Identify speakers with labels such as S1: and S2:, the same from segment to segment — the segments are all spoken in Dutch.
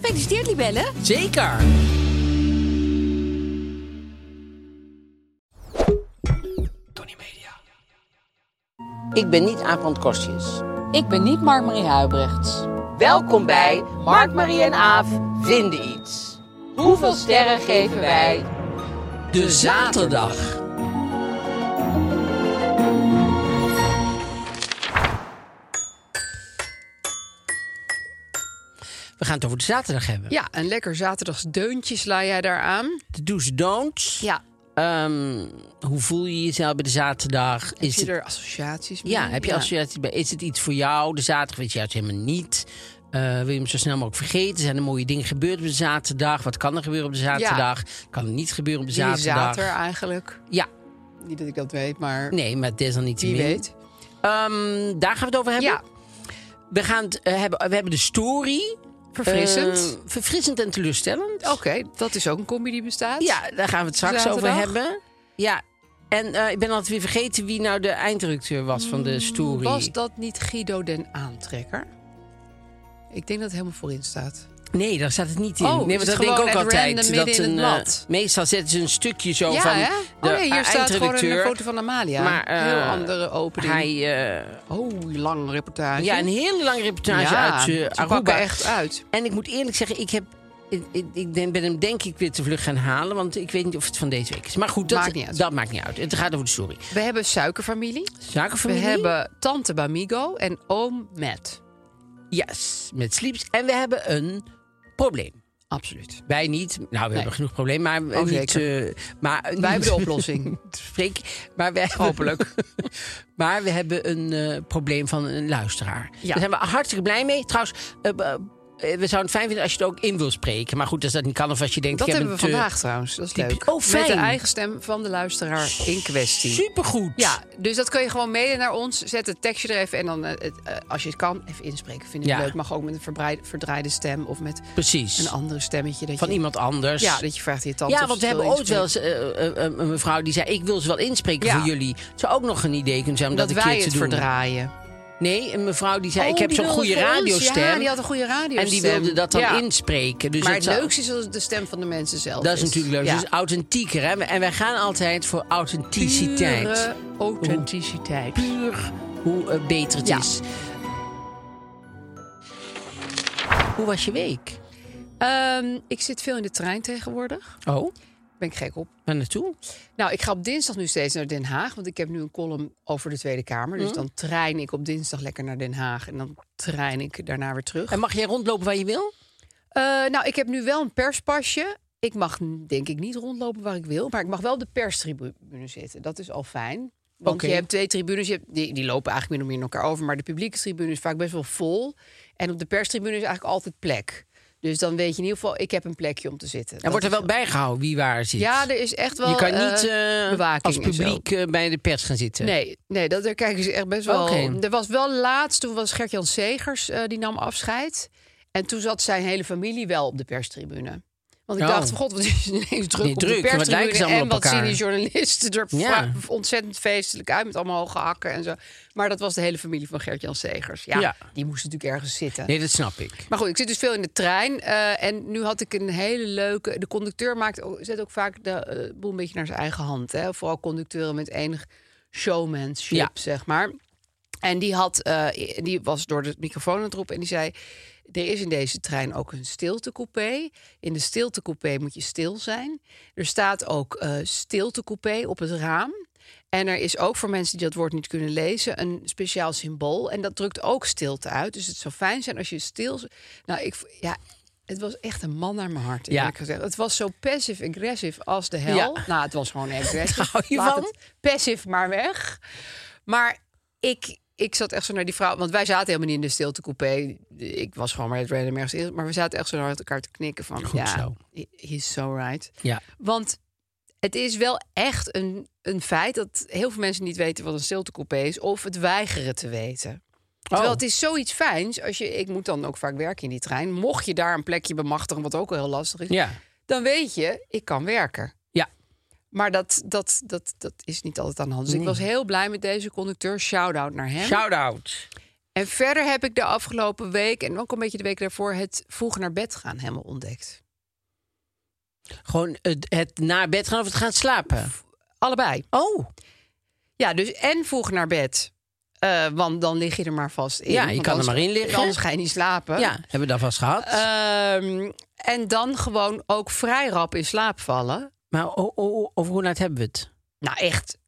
S1: Gefeliciteerd, Libelle.
S2: Zeker! Ik ben niet Aap van Kostjes.
S3: Ik ben niet Mark-Marie Huibrechts.
S2: Welkom bij Mark, Marie en Aaf vinden iets. Hoeveel sterren geven wij? De zaterdag. We gaan het over de zaterdag hebben.
S4: Ja, een lekker zaterdagsdeuntje sla jij daar aan.
S2: De do's don'ts.
S4: Ja.
S2: Ehm, hoe voel je jezelf bij de zaterdag?
S4: Heb
S2: Is
S4: je
S2: het,
S4: er Mhm, associaties mee?
S2: ja, heb je associaties bij? Is het iets voor jou? De zaterdag weet je juist helemaal niet. Eh, wil je hem zo snel mogelijk vergeten? Zijn er mooie dingen gebeurd op de zaterdag? Wat kan er gebeuren op de zaterdag? Kan er niet gebeuren op de
S4: Wie
S2: zaterdag?
S4: zater eigenlijk?
S2: Ja,
S4: Niet dat ik dat weet, maar
S2: nee, maar desalniettemin.
S4: wie weet.
S2: Ehm, daar gaan we het over hebben.
S4: Ja,
S2: We, gaan het, eh, hebben we hebben de story.
S4: verfrissend. Oh,
S2: Eh, verfrissend en teleurstellend.
S4: Oké, dat is ook een combi die bestaat.
S2: Ja, daar gaan we het straks
S4: Zaterdag.
S2: over hebben. Ja, en eh, ik ben altijd weer vergeten wie nou de eindredacteur was van de story.
S4: Mm, Was dat niet Guido den Aantrekker? Ik denk dat het helemaal voorin staat.
S2: Nee, daar staat het niet in.
S4: Oh,
S2: nee,
S4: is
S2: want
S4: het
S2: dat denk ik
S4: gewoon
S2: ook
S4: at
S2: altijd.
S4: random
S2: Dat
S4: midden in
S2: een,
S4: het
S2: eh,
S4: blad?
S2: meestal zetten ze een stukje zo
S4: ja,
S2: van
S4: hè?
S2: de
S4: Oh nee, hier staat gewoon een
S2: eindredacteur.
S4: foto van Amalia.
S2: Maar, eh,
S4: Heel andere opening.
S2: Hij, eh,
S4: Oh, lange reportage.
S2: ja, een hele lange reportage
S4: Ja,
S2: uit eh,
S4: ze
S2: Aruba.
S4: pakken echt uit.
S2: En ik moet eerlijk zeggen, ik heb... Ik, ik- ik ben ben hem denk ik weer te vlug gaan halen, want ik weet niet of het van deze week is. Maar goed, dat
S4: Maakt niet uit.
S2: dat maakt niet uit. Het gaat over de story.
S4: We hebben suikerfamilie.
S2: Zakenfamilie?
S4: We hebben tante Bamigo en oom Matt.
S2: Yes, met Sleeps. En we hebben een probleem.
S4: Absoluut.
S2: Wij niet. Nou, we hebben genoeg probleem, maar eh,
S4: Oh,
S2: niet.
S4: zeker.
S2: eh, maar
S4: Wij hebben de oplossing.
S2: Freek, maar we hebben, hopelijk. maar we hebben een eh, probleem van een luisteraar.
S4: Ja.
S2: Daar zijn we hartstikke blij mee. Trouwens, eh, eh, we zouden het fijn vinden als je het ook in wil spreken. Maar goed, als dat niet kan of als je denkt...
S4: Dat
S2: ik heb
S4: hebben we
S2: een te-
S4: vandaag trouwens. Dat is
S2: typisch-
S4: leuk.
S2: Oh,
S4: Met
S2: fijn.
S4: de eigen stem van de luisteraar in kwestie.
S2: Supergoed.
S4: Ja, dus dat kun je gewoon mailen naar ons. Zet het tekstje er even en dan, eh, het, eh, als je het kan, even inspreken. Vind ik
S2: Ja.
S4: leuk. Mag ook met een verbrei- verdraaide stem of met
S2: Precies.
S4: een andere stemmetje. Dat
S2: Van
S4: je,
S2: iemand anders.
S4: Ja, dat je vraagt aan je tante.
S2: Ja,
S4: of
S2: want we
S4: ze het
S2: hebben
S4: wil
S2: ooit wel eens eh, eh, eh, een mevrouw die zei... ik wil ze wel inspreken
S4: Ja.
S2: voor jullie. Het zou ook nog een idee kunnen zijn om dat,
S4: Dat
S2: een keer
S4: wij
S2: te
S4: het
S2: doen.
S4: verdraaien.
S2: Nee, een mevrouw die zei...
S4: Oh,
S2: ik heb
S4: die
S2: zo'n
S4: wilde
S2: goede
S4: voor ons.
S2: radiostem.
S4: Ja, die had een goede radiostem.
S2: En die wilde dat dan
S4: Ja.
S2: inspreken. Dus
S4: maar
S2: het
S4: het
S2: zou-
S4: leukste is als het de stem van de mensen zelf
S2: Dat is natuurlijk leuk.
S4: Ja.
S2: Dus authentieker. Hè? En wij gaan altijd voor authenticiteit.
S4: Pure authenticiteit.
S2: Puur hoe eh, beter het
S4: Ja.
S2: is. Hoe was je week?
S4: Ehm, ik zit veel in de trein tegenwoordig.
S2: Oh,
S4: Ben ik gek op.
S2: waar naartoe?
S4: Nou, ik ga op dinsdag nu steeds naar Den Haag. Want ik heb nu een column over de Tweede Kamer.
S2: Hm?
S4: Dus dan trein ik op dinsdag lekker naar Den Haag. En dan trein ik daarna weer terug.
S2: En mag jij rondlopen waar je wil?
S4: Eh, nou, ik heb nu wel een perspasje. Ik mag n- denk ik niet rondlopen waar ik wil. Maar ik mag wel op de perstribune zitten. Dat is al fijn. Want
S2: Oké.
S4: je hebt twee tribunes. Je hebt, die, die lopen eigenlijk min of meer in elkaar over. Maar de publieke tribune is vaak best wel vol. En op de perstribune is eigenlijk altijd plek. Dus dan weet je in ieder geval, ik heb een plekje om te zitten.
S2: En
S4: Dat
S2: wordt er
S4: is-
S2: wel bijgehouden wie waar zit?
S4: Ja, er is echt wel
S2: je kan
S4: eh,
S2: niet eh,
S4: bewaking
S2: als
S4: en zo.
S2: publiek eh, bij de pers gaan zitten.
S4: Nee, nee dat, daar kijken ze echt best wel.
S2: Oké.
S4: Er was wel laatst, toen was Gert-Jan Segers, eh, die nam afscheid. En toen zat zijn hele familie wel op de perstribune. Want ik
S2: Oh.
S4: dacht, god, wat is het ineens druk
S2: Nee, druk,
S4: op de
S2: want daar
S4: perstribune.
S2: kijken ze allemaal
S4: en
S2: op
S4: wat zien
S2: elkaar.
S4: die journalisten er
S2: Ja.
S4: va- ontzettend feestelijk uit... met allemaal hoge hakken en zo. Maar dat was de hele familie van Gert-Jan Segers. Ja,
S2: Ja.
S4: die moest natuurlijk ergens zitten.
S2: Nee, dat snap ik.
S4: Maar goed, ik zit dus veel in de trein. eh, en nu had ik een hele leuke. De conducteur maakt ook, zet ook vaak de eh, boel een beetje naar zijn eigen hand. Hè? Vooral conducteuren met enig showmanship,
S2: Ja.
S4: zeg maar. En die, had, eh, die was door de microfoon aan het roepen en die zei... Er is in deze trein ook een stiltecoupé. In de stiltecoupé moet je stil zijn. Er staat ook eh stiltecoupé op het raam. En er is ook voor mensen die dat woord niet kunnen lezen een speciaal symbool. En dat drukt ook stilte uit. Dus het zou fijn zijn als je stil. Nou, ik, v- ja, het was echt een man naar mijn hart.
S2: Ja.
S4: Ja. gezegd. Het was zo passive-aggressive als de hel.
S2: Ja.
S4: Nou, het was gewoon aggressive.
S2: Daar hou je
S4: Laat
S2: van?
S4: het passive maar weg. Maar ik, ik zat echt zo naar die vrouw. Want wij zaten helemaal niet in de stiltecoupé. Ik was gewoon maar het random ergens. in, Maar we zaten echt zo naar elkaar te knikken van...
S2: Goed
S4: ja,
S2: zo.
S4: he- He's so right.
S2: Ja.
S4: Want het is wel echt een, een feit dat heel veel mensen niet weten wat een stiltecoupé is. Of het weigeren te weten.
S2: Oh.
S4: Terwijl het is zoiets fijns. Als je, ik moet dan ook vaak werken in die trein. Mocht je daar een plekje bemachtigen, wat ook wel heel lastig is.
S2: Ja.
S4: Dan weet je, ik kan werken.
S2: Ja.
S4: Maar dat, dat, dat, dat is niet altijd aan de hand. Dus ik was heel blij met deze conducteur. Shout-out naar hem.
S2: Shout-out.
S4: en verder heb ik de afgelopen week en ook een beetje de week daarvoor... het vroeg naar bed gaan helemaal ontdekt.
S2: Gewoon het, het naar bed gaan of het gaan slapen.
S4: Allebei.
S2: Oh,
S4: Ja, dus en vroeg naar bed. Eh, want dan lig je er maar vast in.
S2: Ja, je
S4: Want
S2: kan er
S4: anders-
S2: maar in liggen.
S4: Anders ga je niet slapen.
S2: ja. Hebben we dat vast gehad?
S4: Ehm, en dan gewoon ook vrij rap in slaap vallen.
S2: maar o- o- over hoe laat hebben we het?
S4: Nou, echt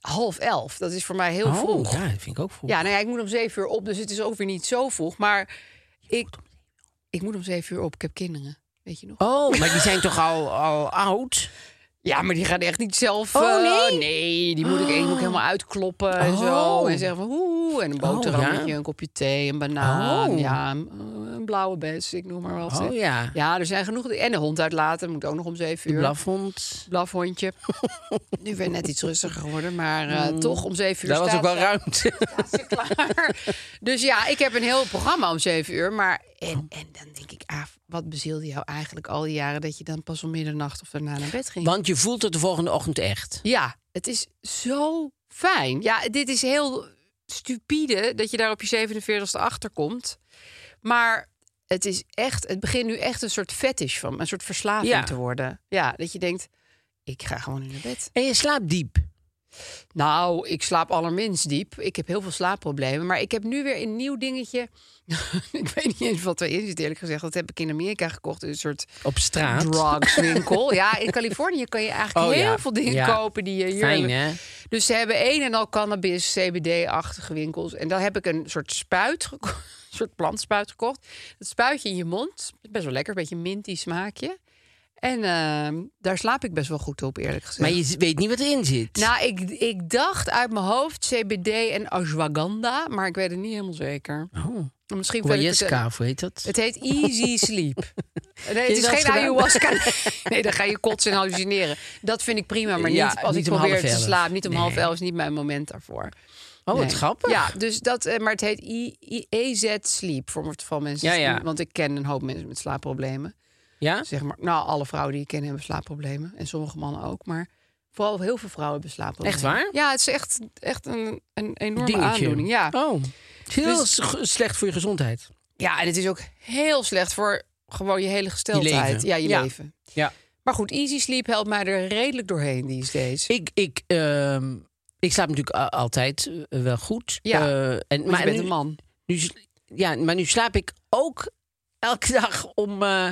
S4: half elf. Dat is voor mij heel
S2: oh,
S4: vroeg.
S2: Ja, dat vind ik ook vroeg.
S4: Ja, nou ja, ik moet om zeven uur op, dus het is ook weer niet zo vroeg. Maar ik, ik moet om zeven uur op. Ik heb kinderen, weet je nog?
S2: Oh, maar die zijn toch al, al oud?
S4: Ja, maar die gaan echt niet zelf...
S2: Oh,
S4: eh,
S2: nee?
S4: nee, die moet ik, die moet ik helemaal uitkloppen en zo.
S2: Oh.
S4: En zeggen van hoe en een boterhammetje,
S2: Oh, ja.
S4: een kopje thee, een banaan.
S2: Oh.
S4: Ja, een, eh, een blauwe bes, ik noem maar wat.
S2: Oh ja.
S4: ja, er zijn genoeg... En de hond uitlaten, moet ook nog om zeven
S2: De
S4: uur.
S2: plafond.
S4: blafhondje. nu ben ik net iets rustiger geworden, maar eh, toch om zeven uur
S2: Daar Hmm. was ook
S4: staat
S2: wel
S4: ze-
S2: ruimte.
S4: staat ze klaar. Dus ja, ik heb een heel programma om zeven uur. Maar en, en dan denk ik, ah, wat bezielde jou eigenlijk al die jaren... dat je dan pas om middernacht of daarna naar bed ging?
S2: Want je voelt het de volgende ochtend echt.
S4: Ja, het is zo fijn. Ja, dit is heel stupide dat je daar op je 47ste achterkomt. Maar het is echt, het begint nu echt een soort fetish van, een soort verslaving
S2: Ja.
S4: te worden. Ja, dat je denkt, ik ga gewoon nu naar bed.
S2: En je slaapt diep.
S4: Nou, ik slaap allerminst diep. Ik heb heel veel slaapproblemen. Maar ik heb nu weer een nieuw dingetje. ik weet niet eens wat erin zit, eerlijk gezegd. Dat heb ik in Amerika gekocht. Een soort
S2: Op straat.
S4: drugswinkel. ja, in Californië kan je eigenlijk
S2: Oh,
S4: heel
S2: ja.
S4: veel dingen
S2: Ja.
S4: kopen die je hier...
S2: Fijn, hè?
S4: Dus ze hebben een en al cannabis, CBD-achtige winkels. En dan heb ik een soort spuit gekocht. Een soort plantspuit gekocht. Dat spuitje in je mond. Best wel lekker, een beetje minty smaakje. En ehm, daar slaap ik best wel goed op, eerlijk gezegd.
S2: Maar je z- weet niet wat erin zit.
S4: Nou, ik, ik dacht uit mijn hoofd CBD en ashwagandha, maar ik weet het niet helemaal zeker.
S2: oh.
S4: Misschien verder
S2: Huayesca,
S4: vertel-
S2: of hoe heet dat?
S4: Het heet Easy Sleep. Nee,
S2: je
S4: het is
S2: dat
S4: geen
S2: gedaan?
S4: ayahuasca. Nee, dan ga je kotsen en hallucineren. Dat vind ik prima, maar niet
S2: Ja,
S4: als
S2: niet
S4: ik
S2: om
S4: probeer
S2: half
S4: te
S2: elf.
S4: slapen. Niet om
S2: Nee.
S4: half elf is niet mijn moment daarvoor.
S2: oh, wat
S4: Nee.
S2: grappig.
S4: Ja, dus dat, eh, maar het heet I- I- EZ Sleep voor het geval mensen.
S2: Ja, ja.
S4: Want ik ken een hoop mensen met slaapproblemen.
S2: Ja?
S4: Zeg maar, nou, alle vrouwen die ik ken hebben slaapproblemen. En sommige mannen ook. Maar vooral heel veel vrouwen hebben slaapproblemen.
S2: Echt waar?
S4: Ja, het is echt, echt een, een enorme
S2: Dingetje.
S4: aandoening. Ja.
S2: Oh. Het is Heel
S4: Dus-
S2: s- g- slecht voor je gezondheid.
S4: ja, en het is ook heel slecht voor gewoon je hele gesteldheid.
S2: Je leven.
S4: Ja, je
S2: Ja.
S4: leven.
S2: Ja.
S4: Maar goed, Easy Sleep helpt mij er redelijk doorheen these days.
S2: Ik, ik, ehm, ik slaap natuurlijk a- altijd eh, wel goed.
S4: Ja,
S2: Eh, en,
S4: maar je bent
S2: nu-
S4: een man.
S2: Nu, sl- ja, maar nu slaap ik ook elke dag om... eh,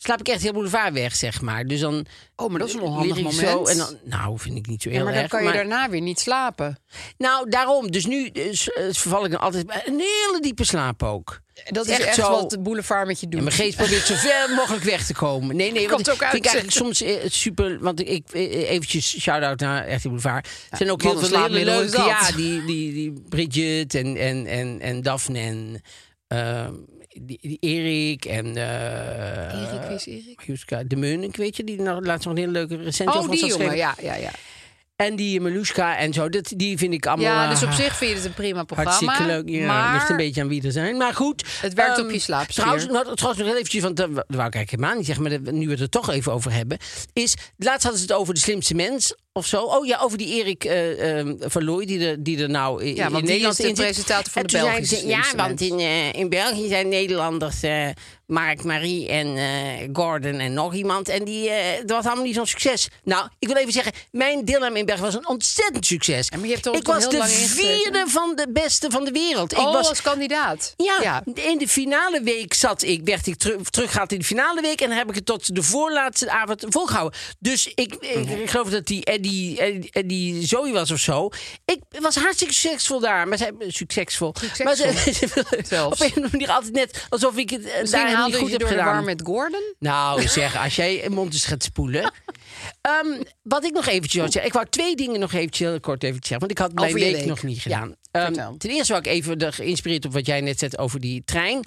S2: slaap ik echt heel boulevard weg, zeg maar. Dus dan
S4: Oh, maar dat is een
S2: lig
S4: onhandig
S2: ik
S4: moment.
S2: Zo en dan, nou, vind ik niet zo heel
S4: ja, maar dan
S2: erg.
S4: kan je daarna weer niet slapen.
S2: Nou, daarom. Dus nu eh, s- eh, verval ik dan altijd bij een hele diepe slaap ook.
S4: Dat is
S2: Echt
S4: echt,
S2: zo.
S4: wat de boulevard met je doet.
S2: En mijn geest probeert zo ver mogelijk weg te komen. Nee, nee, want
S4: Komt ook
S2: ik vind
S4: uit.
S2: eigenlijk soms eh, super... Want ik, ik eh, eventjes shout-out naar Echt die Boulevard. Er zijn ook
S4: wat
S2: heel
S4: een
S2: veel hele
S4: slaapmiddel is
S2: leuke...
S4: dat.
S2: Ja, die, die, die Bridget en, en, en, en Daphne en ehm, die, die Erik en... eh
S4: Erik, wie is Erik?
S2: Mariuska de Meuning, weet je, die nou laatst nog een hele leuke recensie
S4: Oh,
S2: over ons
S4: die
S2: had
S4: jongen,
S2: geschreven.
S4: ja, ja, ja.
S2: En die Meluska en zo, dat, die vind ik allemaal...
S4: Ja,
S2: eh,
S4: dus op zich vind je het een prima programma.
S2: Hartstikke leuk. Ja,
S4: maar
S2: ligt een beetje aan wie er zijn. Maar goed.
S4: Het werkt
S2: ehm,
S4: op je slaapspier.
S2: Trouwens, nou, trouwens nog heel eventjes, want daar wou ik eigenlijk helemaal niet zeggen... maar dat- nu we het er toch even over hebben... is, laatst hadden ze het over de slimste mens... of zo. Oh ja, over die Erik eh ehm, Verlooy, die er, die er nou in,
S4: Ja, want
S2: in
S4: die
S2: Nederland
S4: is de
S2: in zit.
S4: presentator van
S2: En
S4: de
S2: toen
S4: Belgische
S2: zeiden ze, Ja,
S4: slimste
S2: want
S4: mens."
S2: in, eh, in België zijn Nederlanders eh Mark, Marie en eh, Gordon en nog iemand. En die, eh, dat was allemaal niet zo'n succes. Nou, ik wil even zeggen, mijn deelname in België was een ontzettend succes.
S4: maar je hebt er ook
S2: ik
S4: wel
S2: was
S4: heel
S2: de
S4: lang in gezeten.
S2: vierde van de beste van de wereld.
S4: Oh,
S2: ik was
S4: als kandidaat.
S2: ja, in de finale week zat ik, werd ik teru- teruggehaald in de finale week. En dan heb ik het tot de voorlaatste avond volgehouden. Dus ik, ik,
S4: Mhm.
S2: ik geloof dat die Eddie, Eddie, Eddie Zoe was of zo. Ik was hartstikke succesvol daar. Maar zij, succesvol. Maar ze, op
S4: zelfs.
S2: een of andere manier altijd net alsof ik het eh,
S4: Misschien
S2: daar niet
S4: haalde
S2: goed
S4: je
S2: heb
S4: door de war
S2: gedaan.
S4: met Gordon.
S2: Nou, zeg, als jij een mond eens gaat spoelen. Ehm, wat ik nog eventjes wil zeggen. Ik wou twee dingen nog eventjes heel kort even zeggen. Want ik had mijn
S4: Over je
S2: week,
S4: week.
S2: nog niet
S4: Ja,
S2: gedaan. Ehm,
S4: vertel.
S2: ten eerste wou ik even de- geïnspireerd op wat jij net zei over die trein.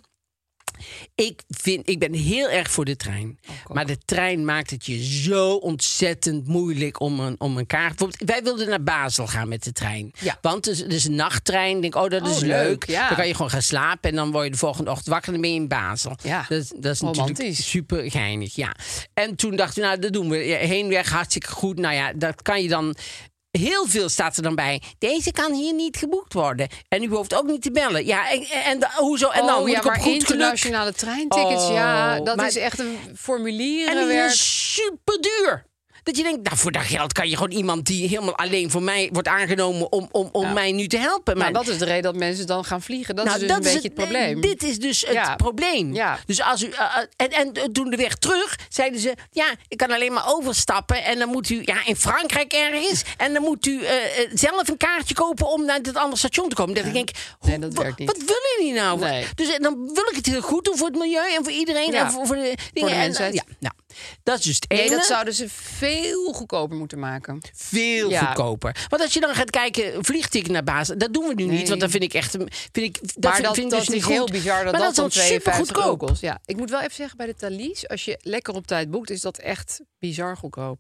S2: Ik, vind, ik ben heel erg voor de trein.
S4: Oh,
S2: maar de trein maakt het je zo ontzettend moeilijk om een, om een kaart. Bijvoorbeeld, wij wilden naar Basel gaan met de trein.
S4: Ja.
S2: Want het is, het is een nachttrein. Ik Denk, oh, dat
S4: Oh,
S2: is leuk.
S4: leuk, ja.
S2: Dan kan je gewoon gaan slapen en dan word je de volgende ochtend wakker en dan ben je in Basel.
S4: Ja,
S2: Dat, dat is natuurlijk
S4: romantisch.
S2: super geinig, ja. En toen dachten we, nou, dat doen we. Ja, Heenweg, hartstikke goed. Nou ja, dat kan je dan... Heel veel staat er dan bij. Deze kan hier niet geboekt worden. En u hoeft ook niet te bellen. Ja, en, en da- hoezo? En dan
S4: oh,
S2: moet
S4: ja,
S2: ik op
S4: maar
S2: goed geluk...
S4: internationale treintickets, ja,
S2: Oh,
S4: dat
S2: maar-
S4: is echt een
S2: En die
S4: formulierenwerk.
S2: is super duur. Dat je denkt, nou, voor dat geld kan je gewoon iemand die helemaal alleen voor mij wordt aangenomen om, om, om mij nu te helpen.
S4: Maar
S2: Maar
S4: Nou, dat is de reden dat mensen dan gaan vliegen.
S2: Nou,
S4: Dat is dus een beetje het, probleem.
S2: Dit is dus het
S4: Ja.
S2: probleem.
S4: Ja.
S2: Dus als u, eh, eh, en, en eh, toen de weg terug zeiden ze: Ja, ik kan alleen maar overstappen. En dan moet u ja, in Frankrijk ergens. En dan moet u eh, eh, zelf een kaartje kopen om naar het andere station te komen. Dat ik denk:
S4: Nee,
S2: hoe-
S4: dat
S2: wa-
S4: werkt niet.
S2: Wat willen jullie nou?
S4: Nee.
S2: Dus eh, dan wil ik het heel goed doen voor het milieu en voor iedereen.
S4: Ja.
S2: En voor, voor de, dingen. En, eh,
S4: mensheid.
S2: ja, nou, dat is dus het
S4: Nee,
S2: ene
S4: dat zouden ze veel goedkoper moeten maken.
S2: veel
S4: Ja.
S2: goedkoper. Want als je dan gaat kijken, vliegticket naar basis, dat doen we nu niet, want dat vind ik echt, een- vind ik, dat
S4: maar
S2: vind,
S4: dat,
S2: vind ik
S4: dat
S2: dus
S4: is
S2: niet goed.
S4: heel bizar dat
S2: maar dat
S4: dat, dan
S2: is dan super
S4: 52 euro
S2: goedkoop.
S4: kost. Ja, ik moet wel even zeggen, bij de Thalys, als je lekker op tijd boekt, is dat echt bizar goedkoop.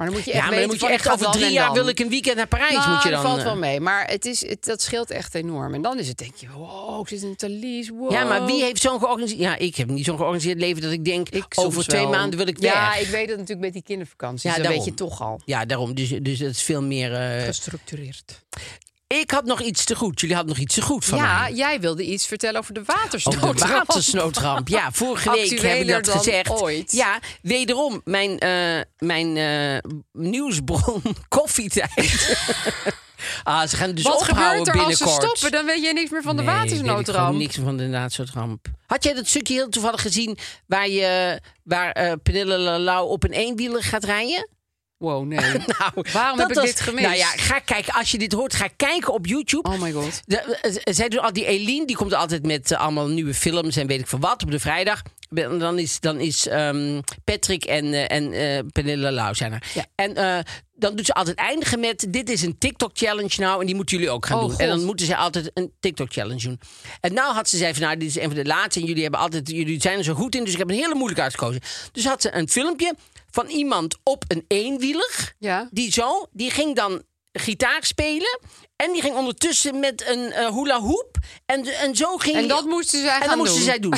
S4: Maar dan moet je echt
S2: Ja, maar dan
S4: weten
S2: moet je
S4: van, ik
S2: echt
S4: ga
S2: over
S4: dan
S2: drie
S4: en
S2: jaar
S4: dan.
S2: wil ik een weekend naar Parijs,
S4: Nou,
S2: moet je
S4: dat
S2: dan.
S4: valt
S2: eh,
S4: wel mee, maar het is, het, dat scheelt echt enorm. En dan is het denk je, wow, ik zit in de Thalys, wow.
S2: Ja, maar wie heeft zo'n georganiseerd? Ja, ik heb niet zo'n georganiseerd leven dat ik denk
S4: Oh. Ik soms
S2: over twee
S4: wel.
S2: maanden wil ik weg.
S4: Ja, ik weet dat natuurlijk met die kindervakanties.
S2: Ja,
S4: Ja, dat
S2: daarom.
S4: weet je toch al.
S2: Ja, daarom. Dus, dus dat is veel meer. eh,
S4: Gestructureerd.
S2: ik had nog iets te goed. Jullie hadden nog iets te goed van
S4: Ja,
S2: mij.
S4: jij wilde iets vertellen over de
S2: Ook
S4: watersnoodramp.
S2: Oh, de watersnoodramp. Ja, vorige week heb ik
S4: Actueler
S2: dat
S4: dan
S2: gezegd.
S4: ooit.
S2: Ja, wederom mijn, eh, mijn eh, nieuwsbron koffietijd. ah, ze gaan dus
S4: Wat
S2: ophouden
S4: gebeurt er als
S2: binnenkort.
S4: ze stoppen? Dan weet jij niks meer van de
S2: Nee, weet ik gewoon
S4: watersnoodramp.
S2: niks van de watersnoodramp. Had jij dat stukje heel toevallig gezien waar, je, waar eh Penille Lau op een eenwieler gaat rijden?
S4: Wow, nee.
S2: Nou,
S4: Waarom
S2: dat
S4: heb ik
S2: was-
S4: dit gemist?
S2: Nou ja, ga kijken. Als je dit hoort, ga kijken op YouTube.
S4: Oh my god.
S2: De- eh, zij doen al die Eline, die komt altijd met eh, allemaal nieuwe films en weet ik veel wat op de vrijdag. En Dan is, dan is ehm, Patrick en, eh, en eh Penilla Lau zijn er.
S4: Ja.
S2: En eh, dan doen ze altijd eindigen met: Dit is een TikTok-challenge nou. En die moeten jullie ook gaan
S4: Oh,
S2: doen.
S4: God.
S2: En dan moeten ze altijd een TikTok-challenge doen. En nou had ze zei: van, Nou, dit is een van de laatste. En jullie, hebben altijd, jullie zijn er zo goed in. Dus ik heb een hele moeilijke uitgekozen. Dus had ze een filmpje van iemand op een eenwieler
S4: Ja.
S2: die zo, die ging dan gitaar spelen. En die ging ondertussen met een eh, hula hoop. En, en zo ging
S4: En dat moesten zij
S2: en dat
S4: gaan
S2: moesten
S4: doen.
S2: zij doen.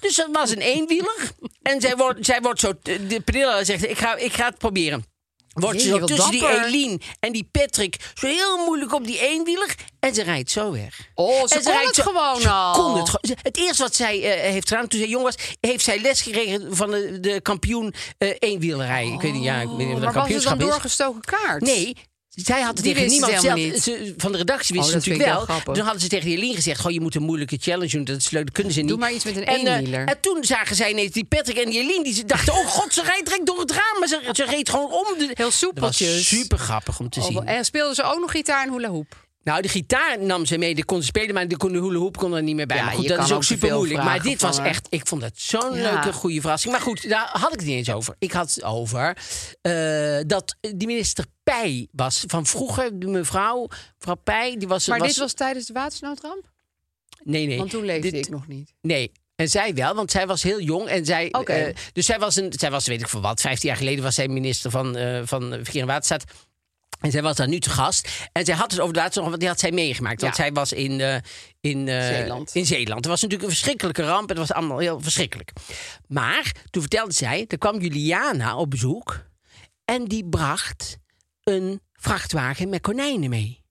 S2: dus dat was een eenwieler. en zij wordt, zij wordt zo... De Pernilla zegt, ik ga, ik ga het proberen. Wordt
S4: Jee,
S2: ze zo
S4: wat
S2: tussen die
S4: dapper.
S2: Eline en die Patrick zo heel moeilijk op die eenwieler. En ze rijdt zo weg.
S4: Oh, ze
S2: En
S4: kon
S2: rijdt
S4: het
S2: zo-
S4: gewoon
S2: ze
S4: al.
S2: Kon het, gewoon. Ze- het eerste wat zij eh, heeft gedaan toen zij jong was... heeft zij les gekregen van de, de kampioen eh eenwielerrijden. ik weet niet, ja, ik weet niet wat
S4: Oh, Maar
S2: een
S4: was het
S2: kampioenschap
S4: dan
S2: is.
S4: doorgestoken kaart?
S2: Nee, zij had het
S4: Die
S2: tegen
S4: wisten
S2: niemand
S4: het
S2: zelf.
S4: helemaal
S2: Ze- van de redactie wisten
S4: Oh,
S2: ze
S4: dat vind
S2: natuurlijk
S4: ik
S2: wel.
S4: wel grappig.
S2: Toen hadden ze tegen Jelien gezegd: Goh, je moet een moeilijke challenge doen. Dat is leuk, dat kunnen ze niet.
S4: maar iets met een
S2: en, eh,
S4: eenwieler.
S2: en toen zagen zij ineens die Patrick en Jelien. Die ze dachten: Oh god, ze rijdt direct door het raam. Maar ze, ze reed gewoon om. De...
S4: Heel soepeltjes.
S2: Dat was super grappig om te
S4: Oh,
S2: zien.
S4: wel- en speelden ze ook nog gitaar en hula hoop.
S2: Nou, de gitaar nam ze mee. Die kon ze spelen, maar de kon de hula hoop kon er niet meer bij.
S4: Ja,
S2: maar goed,
S4: je
S2: dat
S4: kan
S2: is ook,
S4: ook te
S2: super
S4: veel
S2: moeilijk. Maar
S4: vragen
S2: dit
S4: van
S2: was
S4: haar.
S2: echt... Ik vond dat zo'n
S4: Ja.
S2: leuke, goede verrassing. Maar goed, daar had ik het niet eens over. Ik had het over eh, dat die minister Pij was. Van vroeger, de mevrouw, mevrouw Pij, die was...
S4: Maar dit was tijdens de watersnoodramp?
S2: Nee, nee.
S4: Want toen leefde
S2: Dit-
S4: ik nog niet.
S2: Nee. En zij wel, want zij was heel jong. En zij,
S4: Oké.
S2: eh, dus zij was, een, zij was, weet ik veel wat, 15 jaar geleden was zij minister van, eh van Verkeer en Waterstaat. En zij was daar nu te gast. En zij had het over de laatste, want die had zij meegemaakt. Want
S4: Ja.
S2: zij was in, eh, in, eh,
S4: Zeeland.
S2: in Zeeland. Het was natuurlijk een verschrikkelijke ramp. Het was allemaal heel verschrikkelijk. Maar toen vertelde zij, er kwam Juliana op bezoek. En die bracht een vrachtwagen met konijnen mee.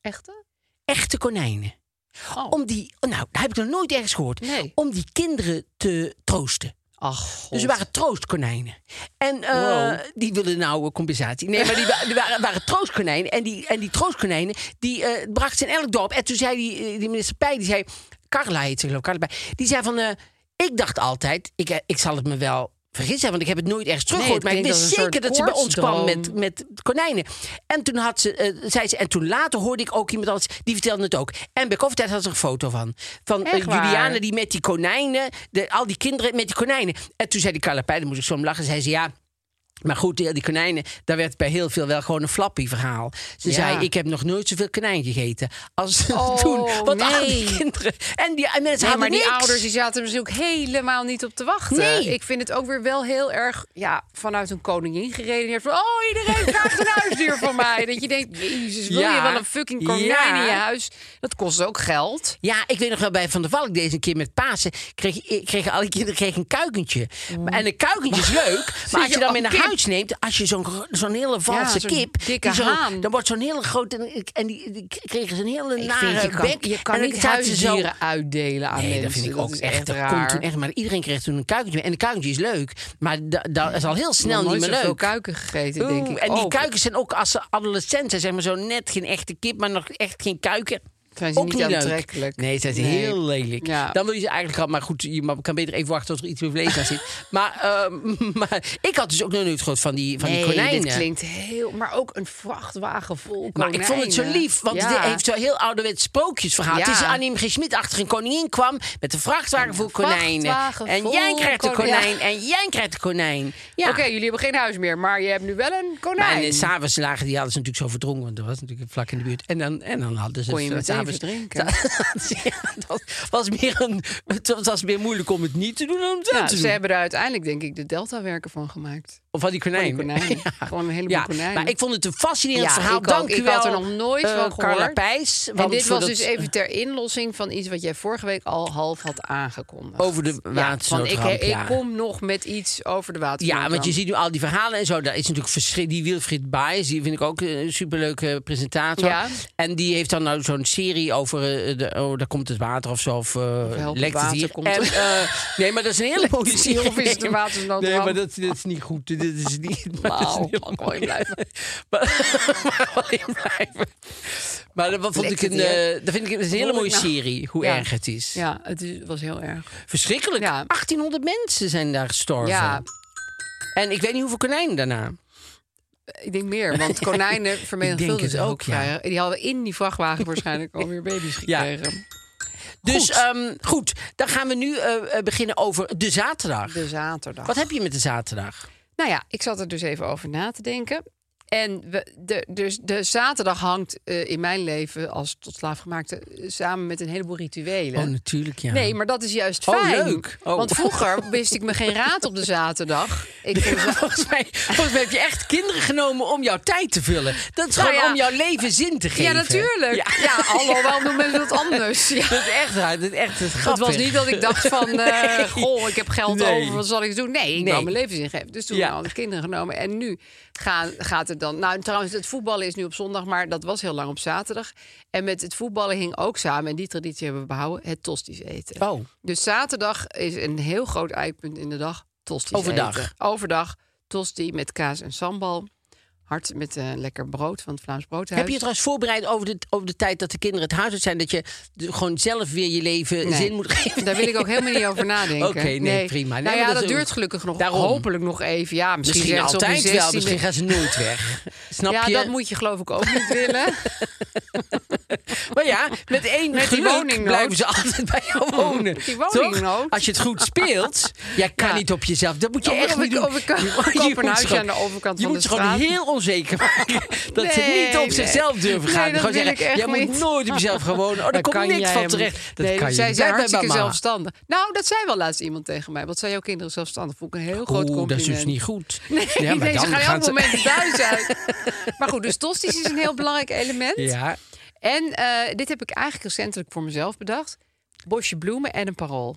S4: Echte?
S2: Echte konijnen.
S4: Oh.
S2: Om die, oh, nou, dat heb ik nog nooit ergens gehoord.
S4: Nee.
S2: Om die kinderen te troosten.
S4: Ach, God.
S2: Dus ze waren troostkonijnen. En eh,
S4: Wow.
S2: die wilden nou eh, compensatie. Nee, maar die, wa- die waren, waren troostkonijnen. En die, en die troostkonijnen, die eh brachten ze in elk dorp. En toen zei die, eh, die minister Pij, die zei... Carla heet ze geloof ik, Carla Pij. Die zei van, eh, ik dacht altijd... Ik, eh, ik zal het me wel vergissen hebben, want ik heb het nooit ergens teruggehoord.
S4: Nee,
S2: maar
S4: het
S2: ik
S4: klinkt
S2: wist
S4: als een
S2: zeker dat
S4: soort
S2: ze bij ons kwam
S4: koortsdroom.
S2: met, met konijnen. En toen had ze, eh, zei ze, en toen later hoorde ik ook iemand anders, die vertelde het ook. En bij koffietijd had ze een foto van. Van eh,
S4: Echt waar?
S2: Juliane die met die konijnen, de, al die kinderen met die konijnen. En toen zei die Carlapij, daar moest ik zo om lachen, zei ze ja. Maar goed, die, die konijnen, daar werd bij heel veel wel gewoon een flappie verhaal. Ze
S4: Ja.
S2: zei, ik heb nog nooit zoveel konijn gegeten als
S4: Oh,
S2: toen. Want al die
S4: nee.
S2: kinderen en die en mensen
S4: Nee,
S2: hadden
S4: maar die
S2: niks.
S4: ouders die zaten er natuurlijk helemaal niet op te wachten.
S2: Nee.
S4: Ik vind het ook weer wel heel erg ja, vanuit een koningin gereden. Van, oh, iedereen vraagt een huisdier van mij. Dat je denkt, jezus, wil
S2: Ja.
S4: je wel een fucking konijn
S2: Ja.
S4: in je huis? Dat kost ook geld.
S2: Ja, ik weet nog wel bij Van der Valk deze keer met Pasen. Kreeg, eh, kregen alle kinderen kreeg een kuikentje. Maar- En een kuikentje is leuk. Maar als je
S4: Mm. je
S2: dan
S4: al
S2: mee naar
S4: kip?
S2: huis neemt. Als je zo'n gro- zo'n hele valse
S4: zo'n
S2: kip. die
S4: dikke
S2: zo-
S4: haan.
S2: Dan wordt zo'n hele grote. En die, die kregen ze een hele
S4: Ik
S2: nare
S4: vind, je kan,
S2: bek.
S4: je kan
S2: en dan
S4: niet
S2: zaten ze zo-
S4: huisdieren uitdelen aan
S2: Nee,
S4: mensen.
S2: dat vind ik ook
S4: is
S2: echt. Dat
S4: raar.
S2: komt toen echt. Maar iedereen kreeg toen een kuikentje. mee. En een kuikentje is leuk. Maar da- dat is al heel
S4: Ik heb
S2: snel
S4: nog
S2: niet
S4: nooit
S2: meer
S4: zoveel
S2: leuk.
S4: kuiken gegeten, denk
S2: Oeh,
S4: ik. Oh,
S2: en die
S4: ook.
S2: kuikens zijn ook als ze adolescent zijn, zeg maar zo net geen echte kip, maar nog echt geen kuiken.
S4: Zijn ze
S2: ook
S4: niet
S2: leuk.
S4: aantrekkelijk?
S2: Nee, zijn ze
S4: Nee.
S2: heel lelijk.
S4: Ja.
S2: Dan wil je ze eigenlijk al, maar goed, je ma- kan beter even wachten tot er iets meer vlees aan zit. Maar, ehm, maar ik had dus ook nog nooit gehoord van die, van die
S4: Nee,
S2: konijnen.
S4: dit klinkt heel... Maar ook een vrachtwagen vol
S2: Maar ik vond het zo
S4: konijnen.
S2: lief, want
S4: Ja.
S2: dit heeft zo heel ouderwets sprookjesverhaal.
S4: Ja.
S2: Het is Annie M. G. Schmid achter een koningin kwam met een vrachtwagen vol konijnen.
S4: vrachtwagen
S2: en
S4: vol
S2: jij krijgt een
S4: konijnen.
S2: konijn en jij krijgt een konijn. Ja.
S4: Oké, jullie hebben geen huis meer, maar je hebt nu wel een
S2: Maar
S4: konijn.
S2: en eh, s'avonds lagen die hadden ze natuurlijk zo verdronken, want er was natuurlijk vlak in de buurt. En dan, en dan hadden ze
S4: Kon je
S2: het, eh,
S4: meteen
S2: s'avonds-
S4: verdrinken.
S2: Ja, dat was meer, een, het was meer moeilijk om het niet te doen dan om het wel
S4: Ja,
S2: te
S4: ze
S2: doen.
S4: hebben er uiteindelijk, denk ik, de deltawerken van gemaakt.
S2: Of van die
S4: Van die
S2: konijnen.
S4: konijnen. Gewoon een heleboel
S2: Ja,
S4: konijnen.
S2: maar ik vond het een fascinerend
S4: Ja,
S2: verhaal.
S4: ik ook.
S2: Dank
S4: Ik
S2: u wel,
S4: had er nog nooit
S2: eh,
S4: van
S2: Carla
S4: gehoord.
S2: Pijs.
S4: en
S2: want
S4: dit
S2: voor
S4: was
S2: dat-
S4: dus even ter inlossing van iets wat jij vorige week al half had aangekondigd.
S2: Over de
S4: van ik,
S2: watersnoodramp, ja.
S4: ik kom nog met iets over de watersnoodramp.
S2: Ja, want je ziet nu al die verhalen en zo. Daar is natuurlijk verschil. Die Wilfried Baes, die vind ik ook eh, een superleuke presentator.
S4: Ja.
S2: En die heeft dan nou zo'n serie over. eh, de, oh, daar komt het water of zo. Of, eh,
S4: help,
S2: lekt
S4: water
S2: het hier.
S4: komt
S2: En,
S4: er.
S2: eh, nee, maar dat is een hele mooie
S4: het hier
S2: serie.
S4: of is het de watersnoodramp?
S2: Nee, maar dat, dat is niet goed. Dit is niet. maar dat is
S4: Wauw,
S2: heel
S4: mag wel
S2: mooi.
S4: in blijven.
S2: maar, maar wel in blijven. Maar dat vond
S4: Lekt
S2: ik een,
S4: het hier?
S2: eh, dat vind ik een
S4: Hoor
S2: hele
S4: ik
S2: mooie
S4: nou?
S2: serie. Hoe
S4: Ja.
S2: erg het is.
S4: Ja, het is- was heel erg.
S2: Verschrikkelijk.
S4: Ja.
S2: 1800 mensen zijn daar gestorven.
S4: Ja,
S2: En ik weet niet hoeveel konijnen daarna.
S4: ik denk meer, want konijnen vermenigvuldigen
S2: het
S4: zich
S2: ook,
S4: ook.
S2: ja.
S4: vrij. Die hadden in die vrachtwagen waarschijnlijk alweer baby's
S2: Ja.
S4: gekregen.
S2: Dus
S4: Goed.
S2: ehm, goed, dan gaan we nu eh, eh, beginnen over de zaterdag.
S4: De zaterdag.
S2: Wat heb je met de zaterdag?
S4: Nou ja, ik zat er dus even over na te denken. En we, de, dus de zaterdag hangt eh, in mijn leven als tot slaafgemaakte eh, samen met een heleboel rituelen.
S2: Oh, natuurlijk, ja.
S4: Nee, maar dat is juist
S2: Oh,
S4: fijn.
S2: leuk. Oh.
S4: Want vroeger wist ik me geen raad op de zaterdag. Ik vond het-
S2: Volgens mij, volgens mij heb je echt kinderen genomen om jouw tijd te vullen. Dat is
S4: Nou
S2: gewoon
S4: ja.
S2: om jouw leven zin te geven.
S4: ja, natuurlijk. Ja, hallo, waarom doen mensen dat anders? Ja.
S2: Dat is echt raar. Dat is echt dat is
S4: Het
S2: grappig.
S4: was niet dat ik dacht van, eh, goh, ik heb geld
S2: Nee.
S4: over, wat zal ik doen? Nee, ik
S2: Nee.
S4: wil mijn leven ingeven. Dus toen
S2: Ja.
S4: hadden al de kinderen genomen. En nu gaan, gaat het dan... Nou, trouwens, het voetballen is nu op zondag, maar dat was heel lang op zaterdag. En met het voetballen hing ook samen, en die traditie hebben we behouden, het tosti's eten.
S2: Oh,
S4: Dus zaterdag is een heel groot eikpunt in de dag, tosti's
S2: Overdag.
S4: eten. Overdag, tosti met kaas en sambal. Hard met eh, lekker brood van het Vlaams Broodhuis.
S2: heb je je trouwens voorbereid over de, over de tijd dat de kinderen het huis uit zijn? Dat je de- gewoon zelf weer je leven
S4: Nee.
S2: zin moet geven?
S4: Daar wil ik ook helemaal niet over nadenken.
S2: Oké, nee, prima. Nee, maar
S4: nou ja,
S2: dat
S4: dat
S2: is-
S4: duurt gelukkig nog.
S2: Daarom.
S4: Hopelijk nog even. Ja, misschien,
S2: Misschien
S4: zeggen ze op hun
S2: altijd wel.
S4: 16e.
S2: Misschien gaan ze nooit weg. Snap
S4: Ja,
S2: je?
S4: dat moet je geloof ik ook niet willen.
S2: Maar ja, met één
S4: Met die
S2: geluk
S4: woningnood.
S2: blijven ze altijd bij jou wonen.
S4: Met die
S2: Toch?
S4: woningnood.
S2: Als je het goed speelt, jij kan
S4: Ja.
S2: niet op jezelf. Dat moet je
S4: Of
S2: echt
S4: ik-
S2: niet doen.
S4: of ik- ik koop een
S2: moet ze
S4: huisje
S2: gewoon-
S4: aan de overkant
S2: je
S4: van
S2: moet
S4: de
S2: ze gewoon
S4: straat.
S2: heel onzeker maken. Dat ze
S4: Nee,
S2: niet op
S4: nee.
S2: zichzelf durven
S4: Nee,
S2: gaan.
S4: dat
S2: gewoon
S4: wil
S2: zeggen,
S4: ik echt
S2: jij moet
S4: niet.
S2: nooit op jezelf gaan wonen. Oh, daar
S4: Dat
S2: komt
S4: kan jij
S2: niks van
S4: helemaal
S2: terecht.
S4: niet.
S2: Dat
S4: nee, dus
S2: kan je
S4: zij
S2: niet.
S4: zijn
S2: Blijf bij
S4: hartstikke
S2: mama.
S4: zelfstandig. Nou, dat zei wel laatst iemand tegen mij. Wat zijn jouw kinderen zelfstandig? Vond ik een heel groot
S2: Oeh, dat
S4: compliment.
S2: is dus niet goed.
S4: Nee,
S2: Ja, maar
S4: nee, ze
S2: dan
S4: gaan
S2: gaan
S4: heel
S2: ze-
S4: veel mensen thuis uit. Maar goed, dus tosti's is een heel belangrijk element.
S2: Ja,
S4: En eh, dit heb ik eigenlijk recentelijk voor mezelf bedacht. Bosje bloemen en een parool.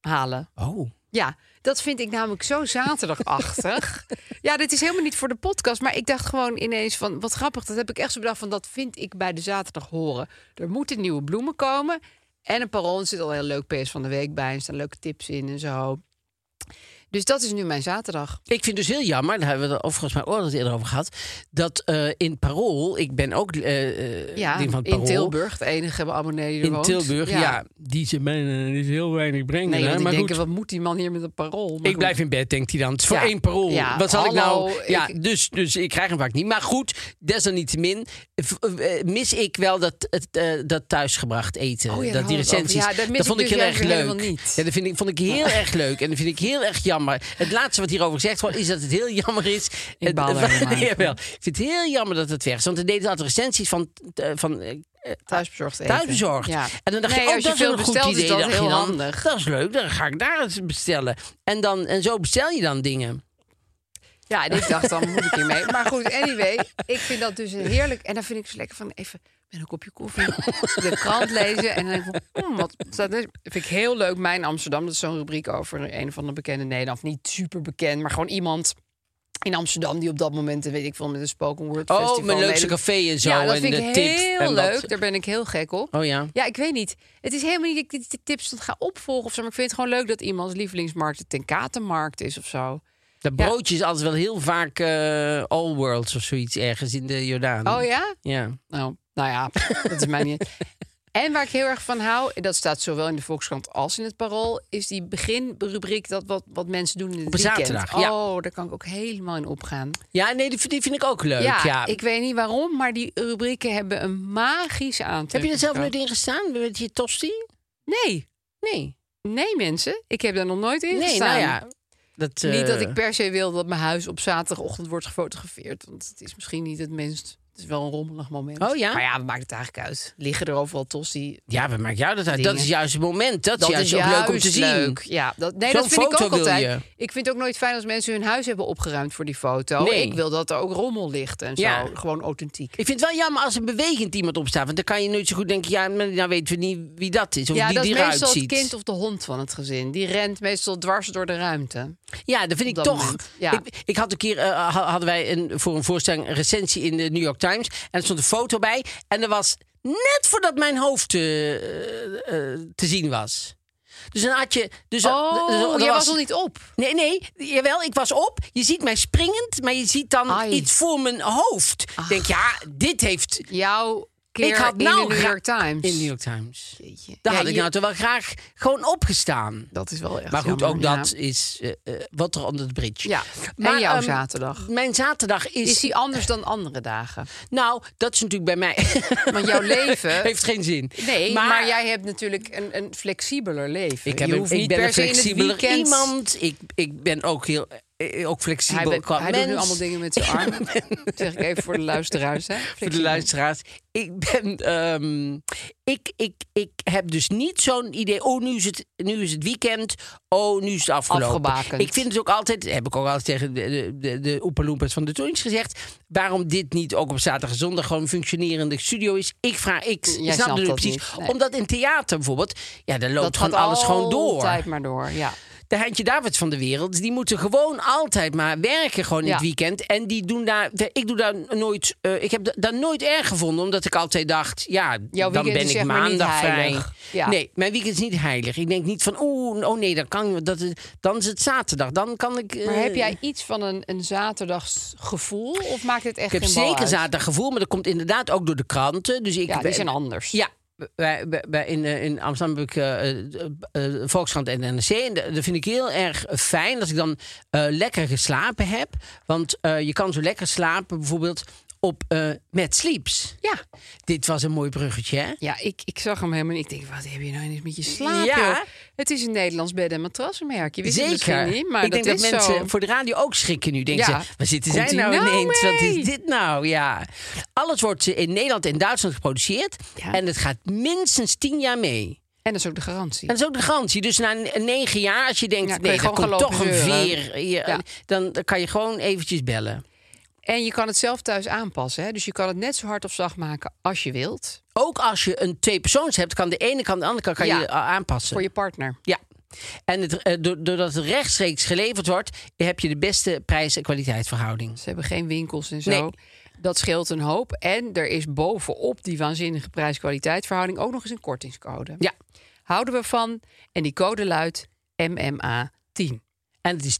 S4: Halen.
S2: oh.
S4: Ja, dat vind ik namelijk zo zaterdagachtig. ja, dit is helemaal niet voor de podcast. Maar ik dacht gewoon ineens van, wat grappig. Dat heb ik echt zo bedacht van, dat vind ik bij de zaterdag horen. Er moeten nieuwe bloemen komen. En een parool er zit al heel leuk PS van de week bij. Er staan leuke tips in en zo. Dus dat is nu mijn zaterdag.
S2: Ik vind dus heel jammer, daar hebben we het overigens maar ooit eerder over gehad, dat eh, in Parool, ik ben ook eh, eh,
S4: Ja,
S2: lid van het
S4: in
S2: Parool.
S4: Tilburg. De enige abonnee die er
S2: In
S4: woont.
S2: Tilburg, ja. Die ze bijna niet heel weinig brengen.
S4: Nee,
S2: hè,
S4: want
S2: maar
S4: ik denk,
S2: goed.
S4: wat moet die man hier met een parool? Maar
S2: Ik blijf in bed, denkt hij dan. Het is voor
S4: Ja.
S2: één parool.
S4: Ja,
S2: Wat zal ik
S4: hallo,
S2: nou... Ja,
S4: ik-
S2: Dus, dus ik krijg hem vaak niet. Maar goed, desalniettemin v- eh, mis ik wel dat, het, eh, dat thuisgebracht eten.
S4: Oh ja, daar
S2: dat die
S4: hadden we het
S2: recensies.
S4: over. Ja, dat mis ik
S2: vond ik
S4: dus
S2: heel erg
S4: juist weer
S2: leuk.
S4: helemaal niet.
S2: Ja, dat vind ik, vond ik heel erg leuk. En dat vind ik heel erg jammer. Het laatste wat hierover gezegd wordt, is dat het heel jammer is.
S4: Ik
S2: Het-
S4: baal er helemaal van.
S2: Jawel. Ik vind het heel jammer dat het weg is. Want er deden altijd recensies van... eh, van eh,
S4: Thuisbezorgd eten.
S2: Thuisbezorgd.
S4: Ja.
S2: En dan dacht
S4: nee,
S2: je, oh,
S4: als
S2: dat
S4: je
S2: is
S4: veel
S2: wel een
S4: bestelt,
S2: goed idee.
S4: is dat
S2: dacht je
S4: heel
S2: dan.
S4: handig.
S2: Dat is leuk, dan ga ik daar eens bestellen. En, dan, en zo bestel je dan dingen.
S4: Ja, en ik dacht, dan moet ik hiermee. Maar goed, anyway, ik vind dat dus een heerlijk. En dan vind ik zo lekker van even met een kopje koffie, de krant lezen. En dan denk ik van, mm, wat staat er? Vind ik heel leuk. Mijn Amsterdam, dat is zo'n rubriek over een of andere bekende Nederland. Of niet super bekend, maar gewoon iemand in Amsterdam die op dat moment, weet ik veel, met een spoken word festival.
S2: Oh, mijn leukste
S4: meedoet.
S2: café en zo.
S4: Ja, dat
S2: en
S4: vind
S2: de
S4: ik
S2: tip
S4: heel
S2: en wat.
S4: leuk. Daar ben ik heel gek op.
S2: Oh ja.
S4: Ja, ik weet niet. Het is helemaal niet dat ik dit- dit tips dan ga opvolgen of zo. Maar ik vind het gewoon leuk dat iemands lievelingsmarkt de Tenkatenmarkt is of zo.
S2: Dat broodje is altijd wel heel vaak eh, All Worlds of zoiets ergens in de Jordaan.
S4: Oh ja?
S2: Ja.
S4: Nou, nou ja, dat is mij niet. En waar ik heel erg van hou, en dat staat zowel in de Volkskrant als in het Parool, is die beginrubriek dat wat, wat mensen doen in het
S2: Op een
S4: weekend.
S2: zaterdag, ja.
S4: Oh, daar kan ik ook helemaal in opgaan.
S2: ja, nee, die, vind- die vind ik ook leuk. Ja,
S4: ja, ik weet niet waarom, maar die rubrieken hebben een magische aantal.
S2: Heb je er zelf nooit in gestaan met je tosti?
S4: Nee,
S2: Nee.
S4: nee mensen, ik heb daar nog nooit in
S2: Nee,
S4: gestaan.
S2: nou ja. Dat, eh,
S4: Niet dat ik per se wil dat mijn huis op zaterdagochtend wordt gefotografeerd, want het is misschien niet het minst. Het is wel een rommelig moment.
S2: Oh ja?
S4: Maar ja, wat maakt het eigenlijk uit? Liggen er overal tosti?
S2: Ja, wat maakt jou dat uit? Dat
S4: Dingen.
S2: is juist het moment. Dat,
S4: Dat
S2: is
S4: is
S2: juist ook leuk om te
S4: juist
S2: zien.
S4: leuk. Ja, dat, nee,
S2: Zo'n
S4: dat vind ik
S2: foto
S4: ook
S2: wil
S4: altijd.
S2: je.
S4: Ik vind het ook nooit fijn als mensen hun huis hebben opgeruimd voor die foto.
S2: Nee.
S4: Ik wil dat er ook rommel ligt en zo.
S2: Ja.
S4: Gewoon authentiek.
S2: Ik vind het wel jammer als er bewegend iemand op staat. Want dan kan je nooit zo goed denken, ja, maar nou weten we niet wie dat is. Of
S4: ja,
S2: die
S4: dat is
S2: die
S4: meestal
S2: eruit
S4: het
S2: ziet.
S4: kind of de hond van het gezin. Die rent meestal dwars door de ruimte.
S2: Ja, dat vind
S4: op
S2: ik
S4: dat
S2: toch.
S4: moment. Ja.
S2: Ik, ik had een keer, eh, ha- hadden wij een, voor een voorstelling een recensie in de New York Times. En er stond een foto bij. En er was net voordat mijn hoofd eh, eh, te zien was. Dus dan had je... Dus,
S4: Oh,
S2: dus- er
S4: jij was nog niet op.
S2: Nee, nee, jawel, ik was op. Je ziet mij springend, maar je ziet dan
S4: Ai. Ah.
S2: iets voor mijn hoofd. Ik Denk, ja, dit heeft...
S4: Jouw keer
S2: ik had
S4: in
S2: nou
S4: de New
S2: gra-
S4: York Times.
S2: In de New York Times.
S4: Jeetje.
S2: Daar
S4: Ja,
S2: had ik
S4: je-
S2: nou toch wel graag gewoon opgestaan.
S4: Dat is wel echt
S2: maar goed,
S4: jammer,
S2: ook
S4: ja.
S2: dat is eh, eh, wat er onder de bridge.
S4: Ja.
S2: Maar,
S4: en jouw
S2: ehm,
S4: zaterdag.
S2: Mijn zaterdag is,
S4: Is die anders dan andere dagen?
S2: Nou, dat is natuurlijk bij mij.
S4: Want jouw leven-
S2: heeft geen zin.
S4: Nee, maar, jij hebt natuurlijk een, een flexibeler leven.
S2: Ik, heb
S4: je
S2: een,
S4: hoeft
S2: ik
S4: niet
S2: ben
S4: per
S2: een
S4: se in het
S2: flexibeler
S4: weekend-
S2: iemand. Ik, ik ben ook heel eh, ook flexibel
S4: Hij, be-
S2: qua
S4: hij
S2: mens.
S4: doet nu allemaal dingen met zijn arm. Dat zeg ik even voor de luisteraars. Hè?
S2: Voor de luisteraars. Ik ben. ehm, ik, ik, ik heb dus niet zo'n idee. Oh, nu is, het, nu is het weekend. Oh, nu is het afgelopen.
S4: Afgebakend.
S2: Ik vind het ook altijd. Heb ik ook altijd tegen de, de, de, de Oepaloempers van de Toons gezegd. Waarom dit niet ook op zaterdag en zondag gewoon een functionerende studio is. Ik vraag. Ik
S4: Jij
S2: snap
S4: snapt
S2: het
S4: dat
S2: precies.
S4: niet, nee.
S2: Omdat in theater bijvoorbeeld. Ja, daar loopt
S4: Dat gaat
S2: gewoon alles gewoon door.
S4: Altijd maar door. Ja.
S2: De Heintje Davids van de wereld, die moeten gewoon altijd maar werken gewoon in
S4: Ja.
S2: het weekend. En die doen daar, ik doe daar nooit, eh, ik heb da- daar nooit erg gevonden, omdat ik altijd dacht, ja,
S4: Jouw
S2: dan
S4: weekend
S2: ben
S4: is
S2: ik
S4: zeg maar niet
S2: maandag vrij.
S4: heilig. Ja.
S2: Nee, mijn weekend is niet heilig. Ik denk niet van, oeh, oh nee, dat kan, dat, is- dan is het zaterdag, dan kan ik.
S4: Maar
S2: eh,
S4: heb jij iets van een, een zaterdagsgevoel? Of maakt het echt
S2: Ik heb
S4: geen bal
S2: zeker
S4: uit?
S2: zaterdaggevoel, maar dat komt inderdaad ook door de kranten. Dus ik,
S4: Ja, die
S2: ben-
S4: zijn anders.
S2: Ja. Bij, bij- bij- in, eh, in Amsterdam heb ik eh, eh, eh, Volkskrant en NRC. En dat dat vind ik heel erg fijn dat ik dan eh, lekker geslapen heb. Want eh, je kan zo lekker slapen bijvoorbeeld op eh Mad Sleeps.
S4: Ja,
S2: Dit was een mooi bruggetje, hè?
S4: ja ik, ik zag hem helemaal en ik denk, wat heb je nou eens met je slaap,
S2: Ja.
S4: joh? Het is een Nederlands bed- en matrassenmerk. Je wist het
S2: Zeker.
S4: misschien niet, maar
S2: ik
S4: dat
S2: denk dat,
S4: is
S2: mensen
S4: zo.
S2: voor de radio ook schrikken nu. Denken
S4: Ja.
S2: ze, waar zitten
S4: Komt
S2: zij
S4: die
S2: nou,
S4: nou
S2: ineens? Wat
S4: mee?
S2: is dit nou? Ja. Alles wordt eh, in Nederland en Duitsland geproduceerd.
S4: Ja.
S2: En het gaat minstens tien jaar mee.
S4: En dat is ook de garantie.
S2: En dat is ook de garantie. Dus na ne- negen jaar, als je denkt,
S4: Ja, kun je
S2: nee, er
S4: gewoon
S2: komt
S4: gaan
S2: toch een
S4: lopen zeuren.
S2: veer. hier,
S4: Ja.
S2: dan, dan kan je gewoon eventjes bellen.
S4: En je kan het zelf thuis aanpassen. Hè? Dus je kan het net zo hard of zacht maken als je wilt.
S2: Ook als je een twee persoons hebt, kan de ene kant, de andere kant kan
S4: Ja.
S2: je a- aanpassen.
S4: Voor je partner.
S2: Ja. En het, eh, do- doordat het rechtstreeks geleverd wordt, heb je de beste prijs- en kwaliteitsverhouding.
S4: Ze hebben geen winkels en zo.
S2: Nee.
S4: Dat scheelt een hoop. En er is bovenop die waanzinnige prijs-kwaliteitsverhouding ook nog eens een kortingscode.
S2: Ja.
S4: Houden we van. En die code luidt MMA10.
S2: En het is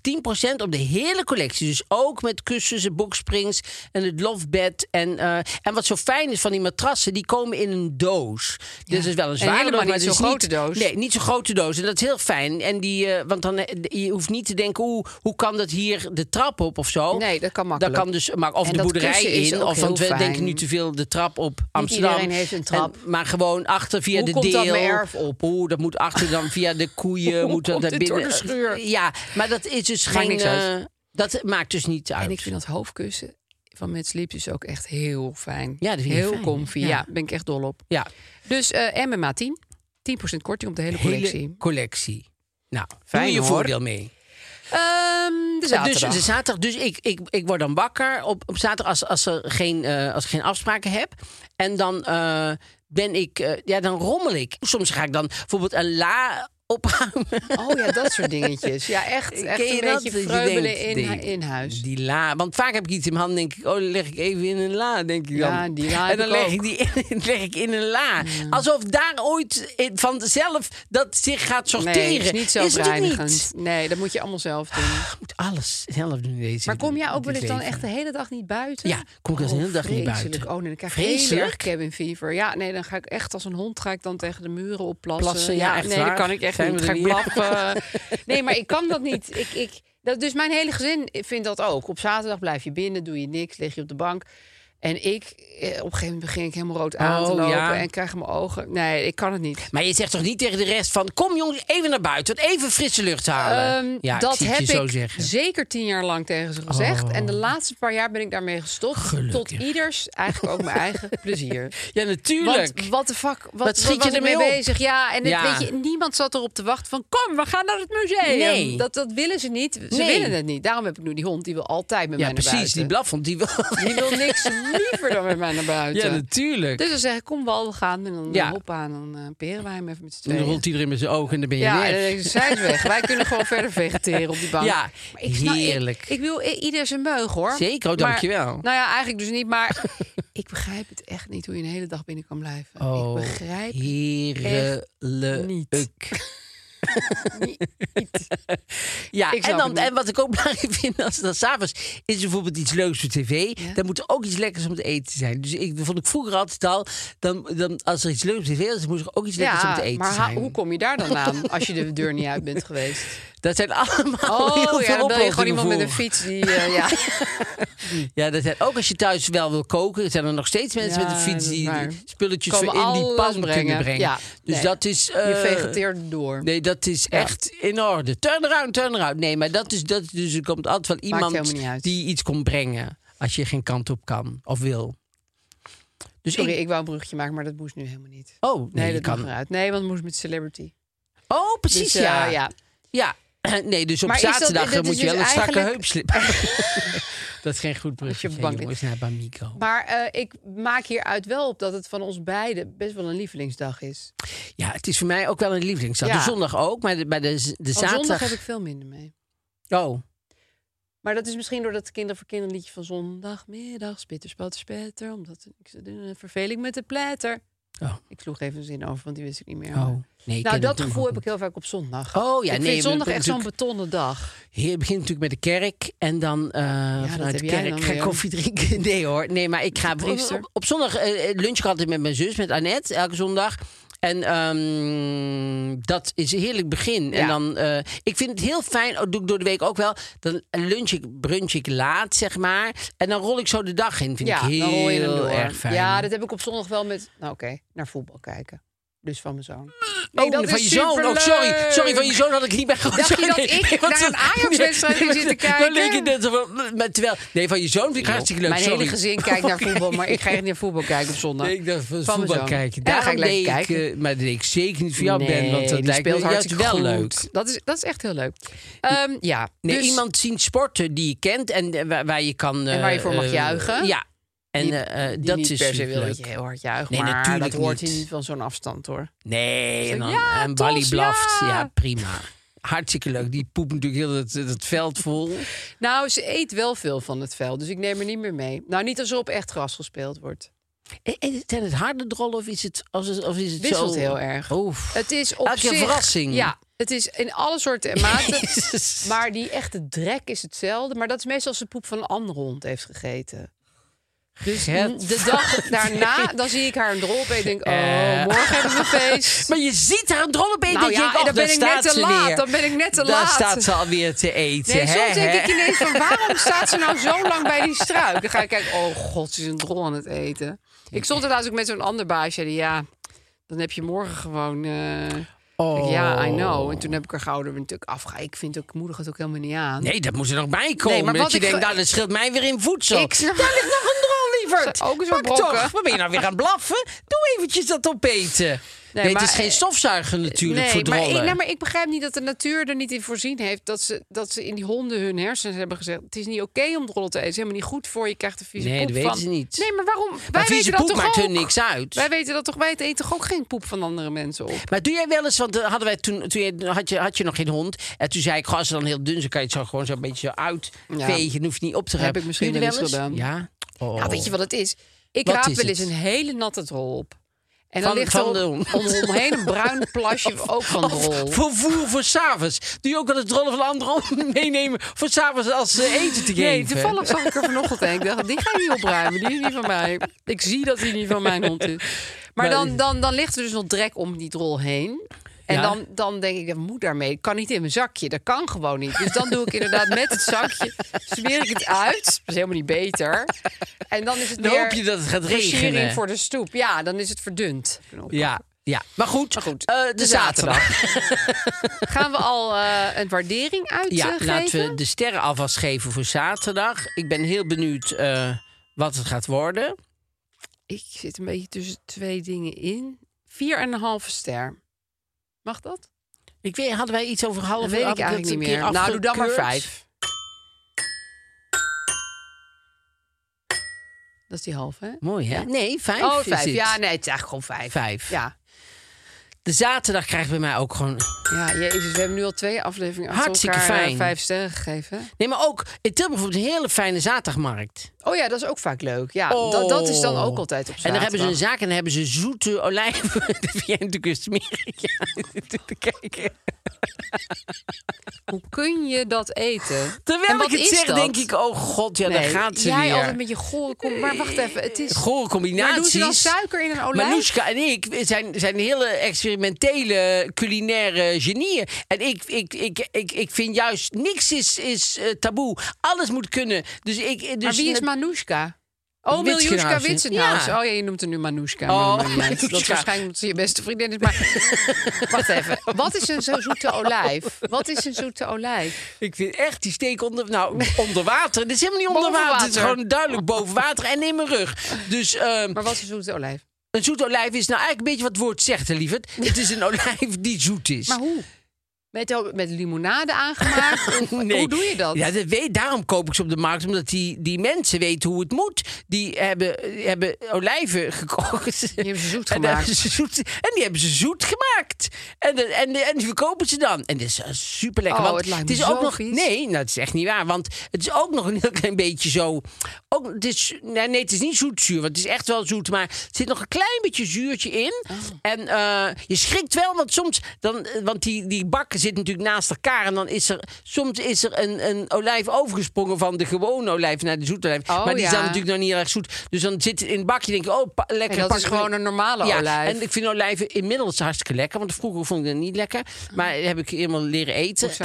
S2: 10% op de hele collectie. Dus ook met kussens, boksprings en het lofbed. En, eh, en wat zo fijn is van die matrassen, die komen in een doos. Dus het is wel een
S4: En
S2: zware
S4: helemaal
S2: doos, maar
S4: niet
S2: het is
S4: zo'n grote doos.
S2: Nee, niet zo'n grote doos. En dat is heel fijn. En die, eh, want dan, eh, je hoeft niet te denken, hoe, hoe kan dat hier de trap op of zo?
S4: Nee, dat kan makkelijk.
S2: Dat kan dus, maar of
S4: En
S2: de
S4: dat
S2: boerderij
S4: kussen is
S2: in.
S4: ook
S2: Of, want
S4: heel
S2: we denken
S4: fijn.
S2: nu te veel de trap op Amsterdam.
S4: iedereen heeft een trap.
S2: En- maar gewoon achter via
S4: Hoe
S2: de
S4: komt dat
S2: deel.
S4: mijn erf op?
S2: Oeh, dat moet achter dan via de koeien.
S4: Hoe
S2: moet dat
S4: komt
S2: naar
S4: dit door
S2: binnen.
S4: de schuur?
S2: Ja, maar dat is dus
S4: Maakt
S2: geen.
S4: niks uit.
S2: eh, dat maakt dus niet uit.
S4: En ik vind dat hoofdkussen van Mad Sleep dus ook echt heel fijn.
S2: Ja, dat vind ik
S4: heel
S2: fijn,
S4: comfy.
S2: ja.
S4: Ja. ben ik echt dol op.
S2: ja,
S4: Dus eh MMA10. 10% korting op de hele collectie.
S2: hele collectie. Nou,
S4: Fijn,
S2: doe je
S4: hoor.
S2: voordeel mee.
S4: Ehm, de zaterdag.
S2: Dus de zaterdag. Dus ik, ik, ik word dan wakker op, op zaterdag als, als, er geen, eh, als ik geen afspraken heb. En dan eh, ben ik, eh, ja, dan rommel ik. Soms ga ik dan bijvoorbeeld een la ophangen.
S4: Oh ja, dat soort dingetjes. Ja, echt, echt
S2: Ken je
S4: een
S2: dat?
S4: beetje
S2: Dat je
S4: vreubelen
S2: denkt,
S4: in,
S2: die-
S4: in huis.
S2: Die la. Want vaak heb ik iets in mijn hand en denk ik, oh, die leg ik even in een la, denk ik dan.
S4: Ja, die la
S2: En
S4: Ah, heb
S2: dan
S4: ik
S2: leg
S4: ook.
S2: ik die in, leg ik in een la. Alsof daar ooit in- vanzelf dat zich gaat sorteren.
S4: Nee, het is niet
S2: Is het ook
S4: zelfreinigend.
S2: niet? Ah,
S4: Nee, dat moet je allemaal zelf doen.
S2: Ik moet alles zelf doen in deze
S4: Maar kom jij ook wel
S2: dit
S4: eens dan
S2: leven.
S4: echt de hele dag niet buiten?
S2: Ja, kom ik als de
S4: Oh,
S2: hele dag niet
S4: vreselijk.
S2: buiten.
S4: Oh nee, dan krijg ik
S2: Vreselijk.
S4: heel erg cabin fever. Ja, nee, dan ga ik echt als een hond ga ik dan tegen de muren opplassen.
S2: Plassen, ja, echt
S4: nee,
S2: waar.
S4: dat kan ik echt
S2: Zijn
S4: niet.
S2: we
S4: Ga
S2: er
S4: ik
S2: niet?
S4: blaffen. nee, maar ik kan dat niet. Ik, ik, dat, dus mijn hele gezin vindt dat ook. Op zaterdag blijf je binnen, doe je niks, lig je op de bank. En ik, eh, op een gegeven moment begin ik helemaal rood aan te
S2: Oh,
S4: lopen
S2: ja.
S4: en krijg mijn ogen. Nee, ik kan het niet.
S2: Maar je zegt toch niet tegen de rest van... kom jongens, even naar buiten, want even frisse lucht halen.
S4: Ehm,
S2: Nou, ja,
S4: dat
S2: ik zie het
S4: heb
S2: je zo
S4: ik
S2: zeggen. Oh.
S4: zeker tien jaar lang tegen ze gezegd. En de laatste paar jaar ben ik daarmee gestopt. Tot ieders, eigenlijk ook mijn eigen plezier.
S2: Ja, natuurlijk.
S4: Want wat de fuck, wat,
S2: Wat schiet
S4: was
S2: je
S4: ik
S2: ermee
S4: mee
S2: op?
S4: bezig? Ja, en het-
S2: Ja.
S4: Weet je, niemand zat erop te wachten van kom, we gaan naar het museum.
S2: Nee.
S4: Dat, dat willen ze niet. Ze
S2: Nee.
S4: willen het niet. Daarom heb ik nu die hond, die wil altijd met
S2: ja,
S4: mij naar
S2: precies, die
S4: buiten.
S2: blaffond, die wil...
S4: die wil niks liever dan met mij naar
S2: Ja,
S4: buiten.
S2: natuurlijk.
S4: dus dan zeg ik, kom wel, we gaan. En dan
S2: Ja.
S4: hop aan, dan eh, peren wij hem even met z'n
S2: dan
S4: tweeën.
S2: rolt iedereen met zijn ogen en dan ben je
S4: Ja, en
S2: weer.
S4: dan denk ik, zij is weg. Wij kunnen gewoon verder vegeteren op die bank.
S2: Ja,
S4: Maar ik snap- ik-
S2: heerlijk.
S4: Ik, wil i- ieder zijn meug, hoor.
S2: Zeker, oh,
S4: Maar-
S2: dankjewel.
S4: nou ja, eigenlijk dus niet, maar ik begrijp het echt niet hoe je een hele dag binnen kan blijven.
S2: Oh,
S4: ik begrijp het
S2: heerlijk. Ja,
S4: Ik
S2: en,
S4: snap
S2: dan,
S4: het niet.
S2: en wat ik ook belangrijk vind als het dan s'avonds is bijvoorbeeld iets leuks voor tv. Dan moet er ook iets lekkers om te eten zijn. Dus ik dat vond ik vroeger altijd al, dan, dan, als er iets leuks op tv was, dan moest er ook iets lekkers om te eten
S4: maar ha-
S2: zijn.
S4: hoe kom je daar dan aan als je de deur niet uit bent geweest?
S2: Dat zijn allemaal heel
S4: Oh, ja,
S2: veel
S4: dan ben je
S2: oplossingen
S4: gewoon iemand met
S2: voor.
S4: een fiets die... eh, ja.
S2: Ja, dat zijn, ook als je thuis wel wil koken, zijn er nog steeds mensen
S4: Ja,
S2: met een fiets
S4: dat is
S2: die
S4: waar.
S2: spulletjes
S4: Komen
S2: voor in die
S4: alles
S2: pan kunnen
S4: brengen.
S2: brengen.
S4: Ja,
S2: dus
S4: nee.
S2: dat is.
S4: Je
S2: eh,
S4: vegeteert door.
S2: Nee, dat is
S4: Ja.
S2: echt in orde. Turnaround, turnaround. Nee, maar dat is, dat is dus er komt altijd wel iemand
S4: helemaal niet uit.
S2: die iets komt brengen als je geen kant op kan of wil. Dus
S4: Sorry,
S2: ik,
S4: ik wou een bruggetje maken, maar dat moest nu helemaal niet.
S2: oh, nee,
S4: Nee,
S2: je
S4: dat kan
S2: kan.
S4: eruit. Nee, want het moest met celebrity.
S2: Oh, precies,
S4: Dus, eh,
S2: ja. ja.
S4: ja.
S2: Nee, dus op
S4: Maar is dat-
S2: zaterdag
S4: dat
S2: dan
S4: is
S2: moet je
S4: dus
S2: wel een strakke
S4: eigenlijk-
S2: heupslip. dat is geen goed brugje.
S4: op de bank
S2: Jongens, naar Bamigo.
S4: Maar eh, ik maak hieruit wel op dat het van ons beiden best wel een lievelingsdag is.
S2: Ja, het is voor mij ook wel een lievelingsdag.
S4: Ja.
S2: De zondag ook, maar de, maar de, z- de
S4: Van
S2: zaterdag...
S4: zondag heb ik veel minder mee.
S2: Oh,
S4: Maar dat is misschien doordat de kinderen voor kinderen liedje van zondagmiddag, spitter, spatter, spetter, omdat ik ze doen een verveling met de pletter.
S2: Oh.
S4: Ik sloeg even een zin over, want die wist ik niet meer.
S2: oh. Nee, ik
S4: nou,
S2: ken
S4: dat
S2: het
S4: gevoel
S2: ook
S4: heb ik
S2: niet.
S4: heel vaak op zondag.
S2: Oh, ja,
S4: ik
S2: nee,
S4: vind zondag
S2: we-
S4: echt zo'n betonnen dag.
S2: Je begint natuurlijk met de kerk en dan eh, vanuit
S4: heb
S2: de
S4: jij
S2: kerk
S4: dan
S2: ga ik
S4: weer.
S2: koffie drinken. Nee hoor, nee, maar ik ga op,
S4: Priester.
S2: op, op zondag eh, eh, lunch ik altijd met mijn zus, met Annette, elke zondag. En ehm, dat is een heerlijk begin. En
S4: Ja.
S2: dan, eh, ik vind het heel fijn, dat doe ik door de week ook wel. Dan lunch ik, brunch ik laat, zeg maar. En dan rol ik zo de dag in. Vind
S4: ja,
S2: ik heel
S4: dan rol je hem door.
S2: erg fijn.
S4: Ja, dat heb ik op zondag wel met, nou oké, naar voetbal kijken. Dus van mijn zoon. Nee,
S2: oh,
S4: dat
S2: van
S4: is
S2: je zoon. Oh, sorry.
S4: superleuk.
S2: Sorry, van je zoon had ik niet bij gehoord.
S4: Dacht je
S2: Sorry,
S4: dat
S2: nee.
S4: ik
S2: Want-
S4: naar een Ajax-wedstrijd
S2: Nee,
S4: zit te
S2: dan
S4: kijken?
S2: leek het net zo van- "Hm, maar terwijl, nee, van je zoon vind ik hartstikke leuk.
S4: Mijn
S2: sorry. Oh,
S4: hele gezin kijkt naar voetbal, maar ik ga echt niet naar voetbal kijken op zondag.
S2: Nee, ik dacht van
S4: Van mijn
S2: voetbal
S4: zoon.
S2: kijken.
S4: Ja, dan
S2: Daar
S4: ga
S2: ga ik
S4: ik lekker
S2: kijken. Maar dat ik zeker niet voor jou ben, want dat lijkt
S4: die
S2: me
S4: speelt
S2: juist
S4: hartstikke
S2: wel leuk.
S4: goed. Dat is, dat is echt heel leuk. Ehm, ja,
S2: Nee,
S4: dus
S2: iemand zien sporten die je kent en eh, waar, waar je kan...
S4: En waar je voor mag
S2: eh,
S4: juichen.
S2: Ja. En
S4: Die-
S2: eh, eh,
S4: die
S2: dat
S4: niet
S2: is
S4: per se wil
S2: leuk.
S4: dat je heel hard juicht,
S2: Nee,
S4: maar
S2: natuurlijk
S4: dat hoort
S2: niet.
S4: hij niet van zo'n afstand hoor.
S2: Nee, en
S4: Zo,
S2: dan
S4: ja,
S2: en
S4: Tos,
S2: Bali blaft.
S4: ja.
S2: Ja, prima. Hartstikke leuk. Die poept natuurlijk heel het, het veld vol.
S4: Nou, ze eet wel veel van het veld, dus ik neem er niet meer mee. Nou, niet als er op echt gras gespeeld wordt.
S2: Eh, eh, Zijn het harde drollen of is het, of is het, of is het
S4: Wisselt
S2: zo?
S4: heel erg.
S2: Oef.
S4: Het is op
S2: Elke keer
S4: zich-
S2: verrassing.
S4: Ja, het is in alle soorten en maten.
S2: Jezus.
S4: maar die echte drek is hetzelfde. Maar dat is meestal als de poep van een andere hond heeft gegeten. Dus
S2: Gert-
S4: de dag daarna, dan zie ik haar een drol op en ik denk, oh,
S2: Eh.
S4: morgen hebben we feest.
S2: Maar je ziet haar een drolle been.
S4: Nou
S2: dat
S4: ja,
S2: je denkt,
S4: en
S2: oh,
S4: dan
S2: daar
S4: ben ik net
S2: staat ze
S4: te laat,
S2: weer.
S4: dan ben ik net te
S2: Daar
S4: laat.
S2: staat ze alweer te eten.
S4: Nee,
S2: hè,
S4: soms denk
S2: hè?
S4: ik ineens van waarom staat ze nou zo lang bij die struik? Dan ga ik kijken, oh god, ze is een drol aan het eten. Ik stond er laatst ook met zo'n ander baasje. Die, ja, dan heb je morgen gewoon... eh,
S2: Oh.
S4: Ja, I know. En toen heb ik er gehouden natuurlijk afga. Ik vind ook, ik moedig het ook helemaal niet aan.
S2: Nee, dat moet er nog bij komen.
S4: Nee, maar
S2: dat
S4: wat
S2: je
S4: ik
S2: denkt,
S4: ge-
S2: nou, dat scheelt mij weer in voedsel.
S4: Ik snap-
S2: Daar ligt nog een drol, lieverd.
S4: Ook eens
S2: Pak
S4: wat brokken.
S2: toch. Waar ben je nou weer aan blaffen? Doe eventjes dat opeten. Nee, het
S4: maar- eh,
S2: is geen stofzuiger natuurlijk
S4: nee,
S2: voor
S4: maar,
S2: drollen.
S4: ik, nou, maar ik begrijp niet dat de natuur er niet in voorzien heeft... dat ze, dat ze in die honden hun hersens hebben gezegd... het is niet oké om drollen te eten. Het is helemaal niet goed voor je. Je krijgt een vieze
S2: Nee,
S4: poep
S2: dat weten
S4: van.
S2: ze niet.
S4: Nee, maar waarom? Wij
S2: maar
S4: weten
S2: vieze
S4: dat
S2: poep
S4: toch
S2: maakt
S4: ook?
S2: hun niks uit.
S4: Wij weten dat toch? Wij eten toch ook geen poep van andere mensen op?
S2: Maar doe jij wel eens, want eh, hadden wij toen, toen je, had, je, had je nog geen hond. En toen zei ik, goh, als ze dan heel dun zijn, kan je het zo gewoon zo'n beetje zo
S4: Ja.
S2: uitvegen. Dan hoef je niet op te
S4: Heb
S2: hebben.
S4: ik misschien
S2: Doe je dat
S4: wel eens
S2: Ja. Oh.
S4: Nou, weet je wat het is? Ik
S2: Wat
S4: raap
S2: is
S4: wel eens
S2: het?
S4: een hele natte drol op. En dan
S2: Van-
S4: ligt
S2: van
S4: er om,
S2: de
S4: om,
S2: hond.
S4: omheen een bruin plasje ook van drol.
S2: Oh. Voor voer voor s'avonds. Doe je ook wel het rollen van anderen om meenemen voor s'avonds als eh, eten te geven?
S4: Nee, toevallig zag ik er vanochtend en ik dacht, die ga je niet opruimen, die is niet van mij. Ik zie dat die niet van mijn hond is. Maar
S2: Maar-
S4: dan, dan, dan ligt er dus nog drek om die drol heen. En
S2: Ja.
S4: dan, dan denk ik, dat moet daarmee. Ik kan niet in mijn zakje, dat kan gewoon niet. Dus dan doe ik inderdaad met het zakje, smeer ik het uit. Dat is helemaal niet beter. En dan is het
S2: Dan
S4: weer
S2: hoop je dat het gaat
S4: versiering
S2: regenen.
S4: voor de stoep. Ja, dan is het verdund.
S2: Ja, ja. Maar goed,
S4: Maar goed,
S2: eh, de,
S4: de
S2: zaterdag.
S4: Gaan we al eh, een waardering
S2: Ja,
S4: uitgeven?
S2: laten we de sterren alvast geven voor zaterdag. Ik ben heel benieuwd eh, wat het gaat worden.
S4: Ik zit een beetje tussen twee dingen in. Vier en een halve ster. Mag dat?
S2: Ik weet, hadden wij iets over half
S4: Dat weet ik
S2: had dat
S4: eigenlijk niet
S2: een keer
S4: meer. Nou, doe dan maar
S2: afgekeurd?
S4: vijf. Dat is die halve, hè?
S2: Mooi, hè? Nee, vijf.
S4: oh,
S2: is
S4: vijf.
S2: het.
S4: Ja, nee, het is eigenlijk gewoon vijf.
S2: Vijf.
S4: Ja.
S2: De zaterdag krijgt bij mij ook gewoon.
S4: Ja, jezus, we hebben nu al twee afleveringen achter
S2: Hartstikke
S4: elkaar eh,
S2: fijn.
S4: vijf sterren gegeven. hè?
S2: Nee, maar ook in Tilburg bijvoorbeeld een hele fijne zaterdagmarkt.
S4: Oh ja, dat is ook vaak leuk. Ja, dat, dat is dan ook altijd op zaterdag.
S2: Oh. En dan hebben ze een zaak en dan hebben ze zoete olijven. Dat vind jij natuurlijk smerig. Ja, te kijken.
S4: Hoe kun je dat eten? En
S2: Terwijl ik
S4: wat
S2: het
S4: is
S2: zeg,
S4: dat?
S2: denk ik, oh god, ja, daar
S4: Nee,
S2: gaat ze
S4: jij
S2: weer.
S4: altijd met je gore kom. Maar wacht even, het is...
S2: Gore combinaties.
S4: Maar doen ze dan suiker in een olijf?
S2: Manoushka en ik zijn, zijn hele experimentele culinaire genieën. En ik, ik, ik, ik, ik vind juist niks is, is eh, taboe. Alles moet kunnen. Dus ik, dus
S4: maar wie is Manoushka? Oh,
S2: Witsenhuis,
S4: Miljushka
S2: hè?
S4: Witsenhuis.
S2: Ja.
S4: Oh ja, je noemt hem nu Manoushka.
S2: Oh,
S4: maar dat maakt niet uit. Dat is
S2: Manoushka.
S4: waarschijnlijk omdat ze je beste vriendin is. Maar wacht even. Wat is een zo zoete olijf? Wat is een zoete olijf?
S2: Ik vind echt die steek onder, nou, onder water. Dit is helemaal niet onder
S4: Boven
S2: water. Het is
S4: water.
S2: gewoon duidelijk boven water en in mijn rug. Dus ehm,
S4: Maar wat is een zoete olijf?
S2: een zoete olijf is nou eigenlijk een beetje wat het woord zegt, hè, lieverd. Het is een olijf die zoet is.
S4: Maar hoe? Met, met limonade aangemaakt? Of-
S2: Nee.
S4: Hoe doe je dat?
S2: Ja, dat weet, daarom koop ik ze op de markt. Omdat die, die mensen weten hoe het moet. Die hebben, hebben olijven gekocht.
S4: Die hebben ze zoet
S2: En, daar
S4: gemaakt.
S2: hebben ze zoet, en die hebben ze zoet gemaakt. En, de- en, de- en die verkopen ze dan. En dat is super lekker.
S4: Oh,
S2: want
S4: het lijkt
S2: is
S4: me zo
S2: ook nog.
S4: vies.
S2: Nee, nou, dat is echt niet waar. Want het is ook nog een heel klein beetje zo. Ook, het is, nee, nee, het is niet zoetzuur. Want het is echt wel zoet. Maar er zit nog een klein beetje zuurtje in.
S4: Oh.
S2: En eh, je schrikt wel, want soms. Dan, eh, want die, die bakken zitten natuurlijk naast elkaar. En dan is er. Soms is er een, een olijf overgesprongen van de gewone olijf naar de zoete olijf.
S4: Oh,
S2: maar die is
S4: ja.
S2: dan natuurlijk nog niet erg zoet. Dus dan zit het in het bakje. Denk ik, oh, pa- lekker.
S4: dat
S2: pak
S4: is
S2: ik-
S4: gewoon een normale
S2: ja,
S4: olijf.
S2: En ik vind olijven inmiddels hartstikke lekker. Want vroeger vond ik het niet lekker.
S4: Ah.
S2: Maar heb ik helemaal leren eten.
S4: Hoezo?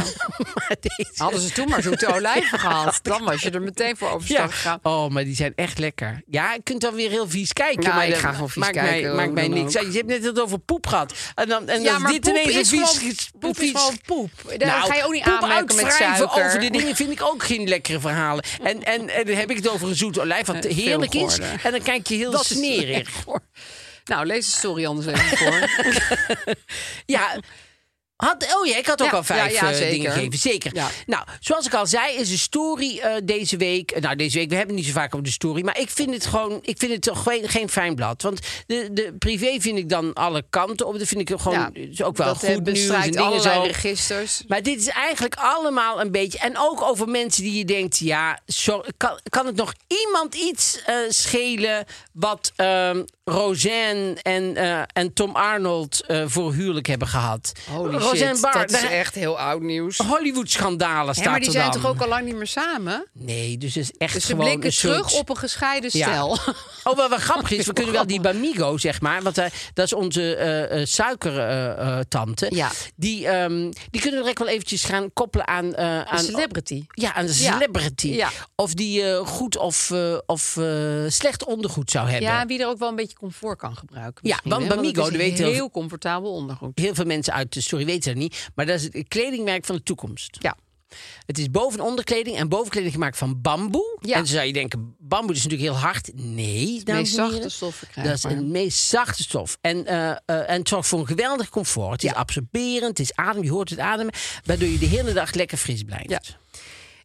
S2: Maar deze-
S4: Hadden ze toen maar zoete olijven gehaald. Dan was je er meteen voor
S2: Ja.
S4: overstag gegaan.
S2: Oh, maar die zijn echt lekker. Ja, je kunt dan weer heel vies kijken.
S4: Nou,
S2: maar
S4: ik
S2: dat
S4: ga gewoon vies
S2: maakt
S4: kijken,
S2: Mij,
S4: hoe
S2: maakt mij
S4: dan
S2: niks.
S4: ook.
S2: uit. Je hebt net het over poep gehad. En dan, en
S4: Ja,
S2: dan
S4: maar
S2: dit
S4: poep
S2: ineens
S4: is
S2: een vies,
S4: gewoon-
S2: poep
S4: poep is gewoon poep. Daar ga je ook niet
S2: poep
S4: aanmerken met
S2: uitwrijven
S4: suiker.
S2: over de dingen vind ik ook geen lekkere verhalen. En, en, en dan heb ik het over een zoete olijf, wat
S4: Eh, veel
S2: heerlijk is.
S4: goorder.
S2: En dan kijk je heel
S4: Dat is-
S2: smerig.
S4: Nou, lees de story anders even voor.
S2: Ja, Had, oh ja, ik had ook
S4: Ja,
S2: al vijf
S4: ja, ja,
S2: eh, dingen
S4: zeker.
S2: gegeven. Zeker.
S4: Ja.
S2: Nou, zoals ik al zei, is de story eh, deze week. eh, Nou, deze week, we hebben het niet zo vaak op de story. Maar ik vind het gewoon, ik vind het toch geen, geen fijn blad. Want de, de privé vind ik dan alle kanten op. Dat vind ik gewoon
S4: Ja,
S2: is ook wel
S4: dat eh,
S2: goed nieuws en
S4: bestrijdt
S2: dingen
S4: allerlei
S2: zo.
S4: registers.
S2: Maar dit is eigenlijk allemaal een beetje. En ook over mensen die je denkt: ja, sorry, kan, kan het nog iemand iets eh, schelen wat ehm Roseanne en, eh, en Tom Arnold eh, voor huwelijk hebben gehad?
S4: Holy
S2: Roseanne
S4: shit,
S2: Barr,
S4: dat is
S2: daar- Oh,
S4: echt heel oud nieuws.
S2: Hollywood-schandalen
S4: Hè,
S2: staat
S4: maar die
S2: er
S4: zijn
S2: dan.
S4: toch ook al lang niet meer samen?
S2: Nee, dus het is echt
S4: Dus ze
S2: gewoon
S4: blikken
S2: een soort-
S4: terug op een gescheiden
S2: Ja.
S4: stel.
S2: Oh, wel wat grappig is, we kunnen wel die Bamigo, zeg maar. Want eh, dat is onze eh, suikertante.
S4: Ja.
S2: eh, die, ehm, die kunnen we direct wel eventjes gaan koppelen aan... eh, aan
S4: Celebrity.
S2: Ja, aan de
S4: Ja.
S2: celebrity.
S4: Ja.
S2: Of die eh, goed of, eh, of eh, slecht ondergoed zou hebben.
S4: Ja, en wie er ook wel een beetje comfort kan gebruiken.
S2: Ja,
S4: misschien,
S2: want
S4: hè,
S2: Bamigo,
S4: het is
S2: dat weten we-
S4: heel comfortabel ondergoed.
S2: Heel veel mensen uit de story weten dat niet. Maar dat is het kledingmerk van de toekomst.
S4: Ja.
S2: Het is boven- en onderkleding en bovenkleding gemaakt van bamboe.
S4: Ja.
S2: En dan zou je denken, bamboe is natuurlijk heel hard. Nee, dames
S4: De meest
S2: en heren.
S4: zachte stof
S2: Dat is
S4: verkrijgbaar.
S2: een meest zachte stof. En, eh, eh, en het zorgt voor een geweldig comfort. Het is
S4: Ja.
S2: absorberend, het is adem, je hoort het ademen. Waardoor je de hele dag lekker fris blijft.
S4: Ja.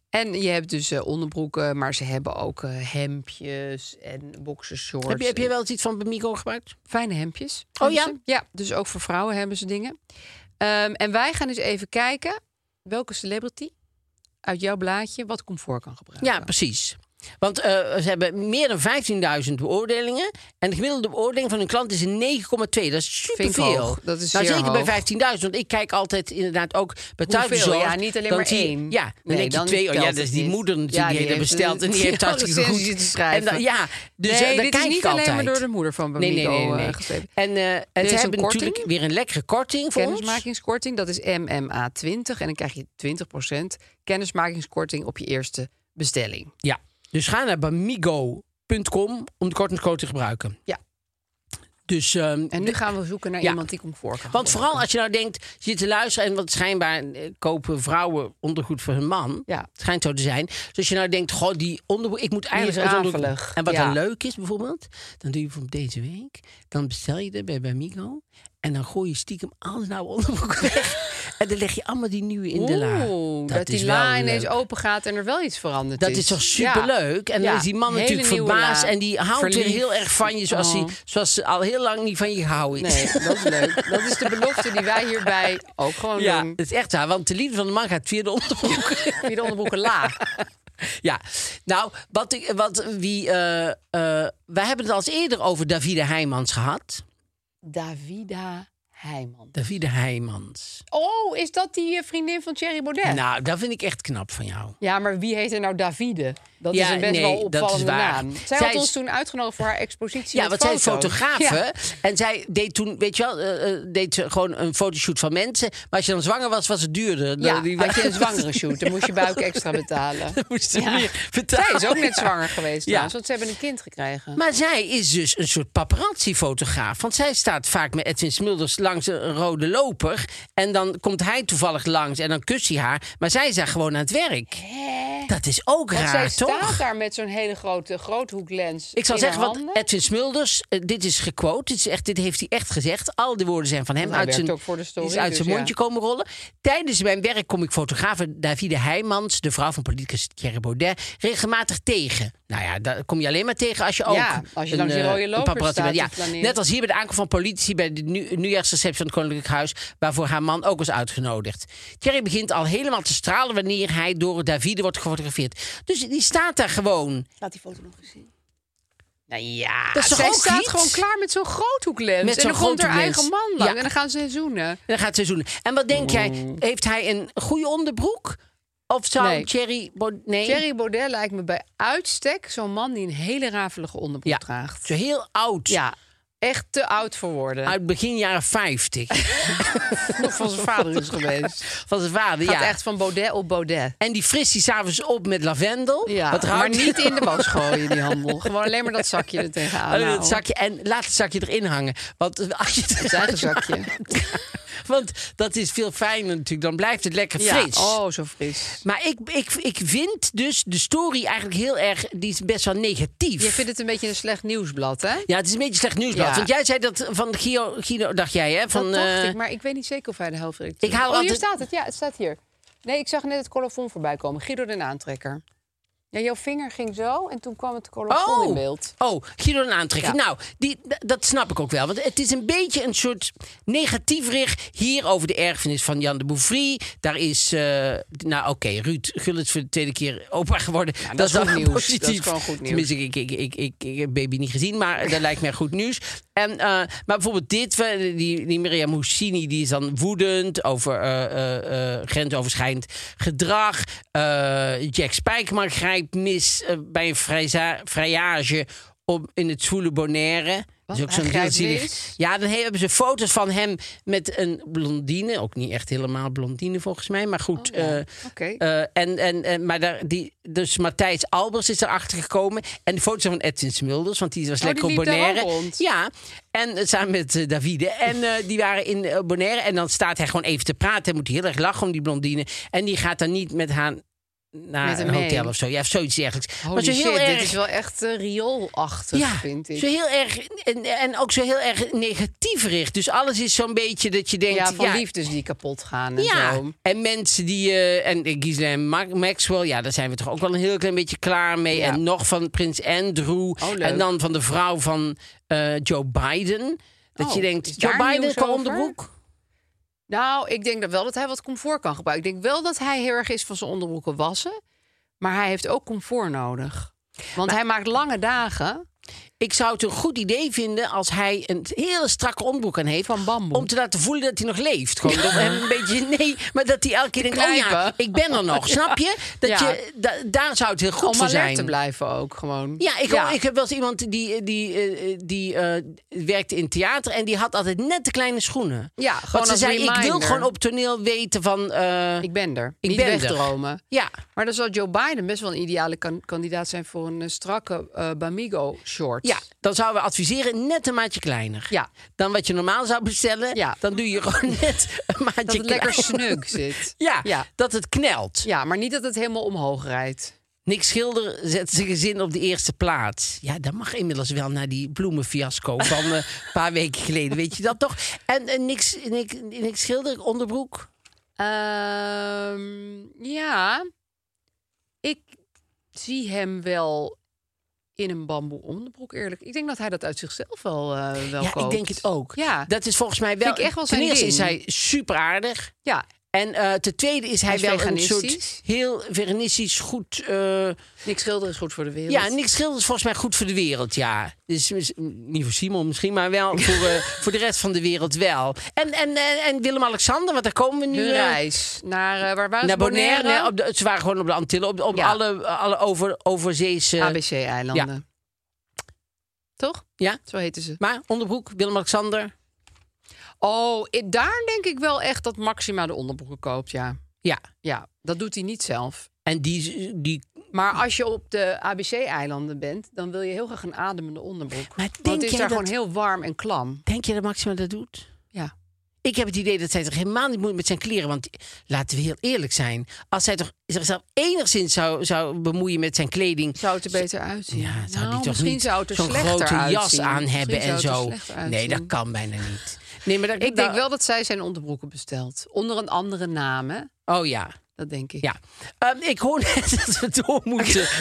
S4: En je hebt dus eh, onderbroeken, maar ze hebben ook eh, hempjes en boxershorts.
S2: Heb, je, heb je wel eens iets van Bamigo gebruikt?
S4: Fijne hemdjes.
S2: Oh
S4: hebben
S2: ja?
S4: ze. Ja, dus ook voor vrouwen hebben ze dingen. Ehm, en wij gaan eens even kijken welke celebrity uit jouw blaadje wat comfort kan gebruiken.
S2: Ja, precies. Want eh, ze hebben meer dan 15.000 beoordelingen. En de gemiddelde beoordeling van hun klant is een 9,2. Dat is
S4: ik
S2: superveel.
S4: hoog. Dat is
S2: nou,
S4: zeer
S2: zeker
S4: hoog.
S2: bij 15.000. Want ik kijk altijd inderdaad ook bij
S4: Hoeveel?
S2: thuisbezorgd.
S4: Ja, niet alleen
S2: dan
S4: maar
S2: zie je-
S4: één.
S2: Ja, dan
S4: Nee,
S2: denk je
S4: dan
S2: twee. Oh ja,
S4: telt
S2: dat is
S4: het
S2: die
S4: niet.
S2: moeder natuurlijk
S4: Ja,
S2: die,
S4: die
S2: heeft dat
S4: heeft
S2: besteld.
S4: een-
S2: En die heeft
S4: die had
S2: hartstikke goed.
S4: recensie te schrijven.
S2: En dan- ja, dus
S4: nee,
S2: eh, daar
S4: dit
S2: kijk
S4: is niet
S2: ik
S4: alleen
S2: altijd.
S4: maar door de moeder van Bamigo
S2: Nee, nee, nee. nee,
S4: eh,
S2: nee.
S4: geschreven.
S2: En, eh, en
S4: is
S2: ze
S4: een
S2: hebben
S4: korting.
S2: natuurlijk weer een lekkere korting voor ons.
S4: Kennismakingskorting, dat is MMA20. En dan krijg je 20% kennismakingskorting op je eerste bestelling.
S2: Ja. Dus ga naar bamigo.com om de kortingscode te gebruiken.
S4: Ja.
S2: Dus ehm,
S4: En nu gaan we zoeken naar
S2: Ja.
S4: iemand die comfort kan
S2: Want vooral
S4: gebruiken.
S2: als je nou denkt, je zit te luisteren en wat schijnbaar eh, kopen vrouwen ondergoed voor hun man.
S4: Ja.
S2: Het schijnt zo te zijn. Dus als je nou denkt, goh, die ondergoed, ik moet eigenlijk
S4: is
S2: uit ondergoed.
S4: akelig.
S2: En wat
S4: Ja.
S2: dan leuk is bijvoorbeeld, dan doe je bijvoorbeeld deze week, dan bestel je er bij Bamigo en dan gooi je stiekem al het oude onderbroek weg. en dan leg je allemaal die nieuwe in de la.
S4: Oeh, dat, die la ineens open gaat en er wel iets veranderd
S2: Dat
S4: is.
S2: is toch
S4: Ja.
S2: superleuk? En dan
S4: Ja,
S2: is die man
S4: hele
S2: natuurlijk
S4: nieuwe
S2: verbaasd.
S4: la.
S2: En die houdt weer
S4: Verliefd.
S2: heel erg van je, zoals,
S4: Oh.
S2: hij, zoals ze al heel lang niet van je gehouden is.
S4: Nee, dat is leuk. Dat is de belofte die wij hierbij ook gewoon
S2: Ja,
S4: doen.
S2: dat is echt waar. Want de liefde van de man gaat via de onderbroek.
S4: Via de onderbroeken la.
S2: ja. Nou, wat, ik- wat wie... eh, eh, wij hebben het al eens eerder over Davide Heijmans gehad.
S4: Davida Heijman.
S2: Davide Heijmans.
S4: Oh, is dat die eh, vriendin van Thierry Baudet?
S2: Nou, dat vind ik echt knap van jou.
S4: Ja, maar wie heet er nou Davide? Dat
S2: Ja,
S4: is een best
S2: nee,
S4: wel
S2: dat is
S4: opvallende
S2: waar.
S4: naam. Zij,
S2: Zij
S4: had
S2: is-
S4: ons toen uitgenodigd voor haar expositie
S2: Ja,
S4: met
S2: want zij is
S4: foto's.
S2: fotografe.
S4: Ja.
S2: En zij deed toen, weet je wel, eh, eh, deed ze gewoon een fotoshoot van mensen. Maar als je dan zwanger was, was het duurder.
S4: Ja,
S2: Dan- die-
S4: had je een zwangere shoot, dan moest je buik extra betalen.
S2: Dan moest ze
S4: Ja.
S2: meer betalen.
S4: Zij is ook net zwanger geweest
S2: Ja.
S4: trouwens, want ze hebben een kind gekregen.
S2: Maar zij is dus een soort paparazzi-fotograaf. Want zij staat vaak met Edwin Smulders langs een rode loper. En dan komt hij toevallig langs en dan kust hij haar. Maar zij is daar gewoon aan het werk. Dat is ook
S4: Want zij
S2: raar, toch?
S4: staat daar met zo'n hele grote groothoeklens
S2: Ik zal
S4: in haar
S2: zeggen, want
S4: handen.
S2: Edwin Smulders, eh, dit is gequote, dit, is echt, dit heeft hij echt gezegd. Al de woorden zijn van hem.
S4: Want hij
S2: uit
S4: werkt
S2: zijn,
S4: ook voor de story,
S2: is uit
S4: dus
S2: zijn
S4: ja.
S2: mondje komen rollen. Tijdens mijn werk kom ik fotograaf Davide Heijmans, de vrouw van politicus Thierry Baudet, regelmatig tegen. Nou ja, daar kom je alleen maar tegen als je ook.
S4: Ja, als je langs die
S2: eh,
S4: rode loper
S2: paparazzi
S4: staat,
S2: bent.
S4: te
S2: Ja,
S4: flaneren.
S2: net als hier bij de aankomst van politici bij de nu, nieuwjaarsreceptie van het Koninklijk Huis, waarvoor haar man ook was uitgenodigd. Thierry begint al helemaal te stralen wanneer hij door Davide wordt gefotografeerd. Dus die staat daar gewoon.
S4: Laat die foto nog eens zien. Nou ja,
S2: Dat is toch
S4: zij
S2: ook
S4: staat
S2: iets?
S4: gewoon klaar met zo'n groothoeklens.
S2: Met
S4: en dan
S2: zo'n
S4: komt haar
S2: groothoeklens.
S4: eigen man lang
S2: Ja.
S4: en dan gaan ze zoenen.
S2: En dan gaat het seizoen. En wat denk jij? Heeft hij een goede onderbroek? Of zou
S4: Nee.
S2: Thierry... Bo- nee.
S4: Thierry Baudet lijkt me bij uitstek zo'n man die een hele rafelige onderbroek
S2: Ja.
S4: draagt.
S2: Zo heel oud.
S4: Ja, echt te oud voor woorden.
S2: Uit begin jaren 50.
S4: Nog van zijn vader is geweest.
S2: van zijn vader,
S4: Gaat
S2: ja.
S4: echt van Baudet op Baudet.
S2: En die frist die s'avonds op met lavendel.
S4: Ja,
S2: Wat
S4: maar
S2: ruikt-
S4: niet in de was gooien, die handel. Gewoon alleen maar dat zakje er tegenaan
S2: Alleen dat
S4: houden.
S2: zakje en laat het zakje erin hangen. Want als je het
S4: Het eigen zakje.
S2: Want dat is veel fijner natuurlijk. Dan blijft het lekker
S4: Ja,
S2: fris.
S4: oh, zo fris.
S2: Maar ik, ik, ik vind dus de story eigenlijk heel erg... Die is best wel negatief.
S4: Je vindt het een beetje een slecht nieuwsblad, hè?
S2: Ja, het is een beetje slecht nieuws. maar
S4: Ja.
S2: Want jij zei dat van Guido, Guido dacht jij, hè? Van,
S4: dat dacht
S2: eh,
S4: ik, maar ik weet niet zeker of hij de hoofdredacteur
S2: Ik haal
S4: Oh, hier
S2: altijd-
S4: staat het. Ja, het staat hier. Nee, ik zag net het colofon voorbij komen. Guido den Aantrekker. Ja, jouw vinger ging zo en toen kwam het colofon in beeld.
S2: Oh, Guido een aantrekker.
S4: Ja.
S2: Nou, die, d- dat snap ik ook wel. Want het is een beetje een soort negatief richt hier over de erfenis van Jan de Bouvry. Daar is, eh, nou oké, Ruud Gullit is voor de tweede keer opa geworden. dat,
S4: is
S2: is wel
S4: goed
S2: een
S4: nieuws.
S2: positief.
S4: Dat is gewoon goed nieuws.
S2: Tenminste, ik, dus ik, ik, ik, ik heb Baby niet gezien, maar dat lijkt mij goed nieuws. En, eh, maar bijvoorbeeld dit, eh, die, die Miriam Houssini, die is dan woedend over eh, eh, eh, grensoverschrijdend gedrag. Eh, Jack Spijkman grijpt mis eh, bij een vrijza- vrijage op, in het zwoele Bonaire. Dat is ook
S4: Hij
S2: zo'n heel
S4: grijpt
S2: zielig-
S4: mis?
S2: Ja, dan hebben ze foto's van hem met een blondine. Ook niet echt helemaal blondine volgens mij, maar goed.
S4: Oh,
S2: eh,
S4: Oké.
S2: eh, en, en, en, maar daar, die, dus Matthijs Albers is erachter gekomen. En de foto's zijn van Edwin Smulders, want die was
S4: Oh,
S2: lekker
S4: die
S2: op
S4: liep daar ook
S2: Bonaire.
S4: rond.
S2: Ja, en eh, samen met eh, Davide. En eh, die waren in eh, Bonaire. En dan staat hij gewoon even te praten. Hij moet heel erg lachen om die blondine. En die gaat dan niet met haar naar
S4: Met hem
S2: een hotel
S4: mee.
S2: of zo. Ja, of zoiets dergelijks.
S4: Holy
S2: maar zo
S4: shit,
S2: heel erg.
S4: dit is wel echt eh, rioolachtig, vind ik.
S2: zo heel erg en, en ook zo heel erg negatief richt. Dus alles is zo'n beetje dat je denkt...
S4: ja, van liefdes die kapot gaan en
S2: Ja,
S4: zo.
S2: en mensen die... eh, en eh, Ghislaine Ma- Maxwell, ja, daar zijn we toch ook wel een heel klein beetje klaar mee.
S4: Ja. Oh,
S2: En nog van prins Andrew.
S4: leuk.
S2: en dan van de vrouw van eh, Joe Biden. Dat
S4: Oh,
S2: je
S4: is
S2: denkt, Joe
S4: daar
S2: Biden
S4: nieuws
S2: kwam om de
S4: over?
S2: broek.
S4: Nou, ik denk dat wel dat hij wat comfort kan gebruiken. Ik denk wel dat hij heel erg is van zijn onderbroeken wassen. Maar hij heeft ook comfort nodig. Want hij maakt lange dagen.
S2: Ik zou het een goed idee vinden als hij een hele strakke onderbroek aan heeft.
S4: Van bamboe.
S2: Om te laten voelen dat hij nog leeft. Gewoon dat hem een beetje, nee, maar dat hij elke keer denkt, oh ja,
S4: knijpen.
S2: ik ben er nog. Snap je? Dat
S4: Ja.
S2: je da- daar zou het heel goed
S4: Om
S2: voor
S4: alert
S2: zijn.
S4: te blijven ook gewoon.
S2: Ja, ik, ik heb wel eens iemand die, die, eh, die eh, werkte in theater en die had altijd net de kleine schoenen.
S4: Ja,
S2: Want
S4: gewoon
S2: ze
S4: als
S2: zei, ik wil
S4: reminder.
S2: gewoon op toneel weten van... eh,
S4: Ik ben er.
S2: Ik
S4: Niet
S2: ben er.
S4: wegdromen.
S2: ja,
S4: Maar dan zou Joe Biden best wel een ideale kan- kandidaat zijn voor een eh, strakke eh, Bamigo-short.
S2: ja, dan zouden we adviseren net een maatje kleiner.
S4: Ja.
S2: Dan wat je normaal zou bestellen,
S4: Ja.
S2: dan doe je gewoon net een maatje
S4: Dat het lekker
S2: kleiner.
S4: snug zit.
S2: Ja,
S4: ja.
S2: dat het knelt.
S4: Ja, maar niet dat het helemaal omhoog rijdt.
S2: Nick Schilder zet zijn gezin op de eerste plaats. Ja, dat mag inmiddels wel na die bloemenfiasco van eh, een paar weken geleden. Weet je dat toch? En, en Nick, Nick, Nick Schilder, onderbroek?
S4: Ehm, ja, ik zie hem wel in een bamboe onderbroek, eerlijk. Ik denk dat hij dat uit zichzelf wel, eh wel
S2: ja,
S4: koopt.
S2: ik denk het ook.
S4: Ja,
S2: Dat is volgens mij wel...
S4: Vind ik echt wel
S2: ten
S4: zijn
S2: eerste is
S4: ding.
S2: hij super aardig.
S4: ja.
S2: En eh, ten tweede is hij,
S4: is
S2: wel een soort
S4: veganistisch.
S2: heel veganistisch goed... eh,
S4: Nick Schilder is goed voor de wereld.
S2: ja, Nick Schilder is volgens mij goed voor de wereld, ja. Dus, mis- niet voor Simon misschien, maar wel voor, eh, voor de rest van de wereld wel. En, en, en, en Willem-Alexander, want daar komen we nu...
S4: Hun
S2: eh,
S4: reis naar, eh, waar waren
S2: naar
S4: ze?
S2: Bonaire. Nee, op de, ze waren gewoon op de Antillen, op, op
S4: Ja.
S2: alle, alle over, overzeese...
S4: ABC-eilanden. Toch?
S2: Ja.
S4: Zo heten ze.
S2: Maar onderbroek, Willem-Alexander.
S4: Oh, i- daar denk ik wel echt dat Maxima de onderbroeken koopt, ja.
S2: Ja.
S4: Ja, dat doet hij niet zelf.
S2: En die, die
S4: Maar als je op de ABC-eilanden bent, dan wil je heel graag een ademende onderbroek.
S2: Maar denk
S4: Want het is
S2: jij
S4: daar
S2: dat-
S4: gewoon heel warm en klam.
S2: Denk je dat Maxima dat doet?
S4: Ja.
S2: Ik heb het idee dat zij toch helemaal niet moet met zijn kleren. Want laten we heel eerlijk zijn. Als zij toch zichzelf enigszins zou, zou bemoeien met zijn kleding.
S4: Zou het er beter uitzien?
S2: Ja, zou die
S4: Nou,
S2: toch
S4: misschien
S2: niet
S4: zou het er
S2: zo'n
S4: slechter
S2: grote jas
S4: uitzien.
S2: aan hebben
S4: Misschien
S2: en
S4: zou het
S2: zo.
S4: er slechter
S2: Nee, dat
S4: uitzien.
S2: kan Nou- bijna niet. Nee, maar dat,
S4: Ik
S2: dat-
S4: denk wel dat zij zijn onderbroeken bestelt. Onder een andere naam, hè?
S2: Oh ja.
S4: Dat denk ik.
S2: Ja. Ehm, ik hoor net dat we door moeten,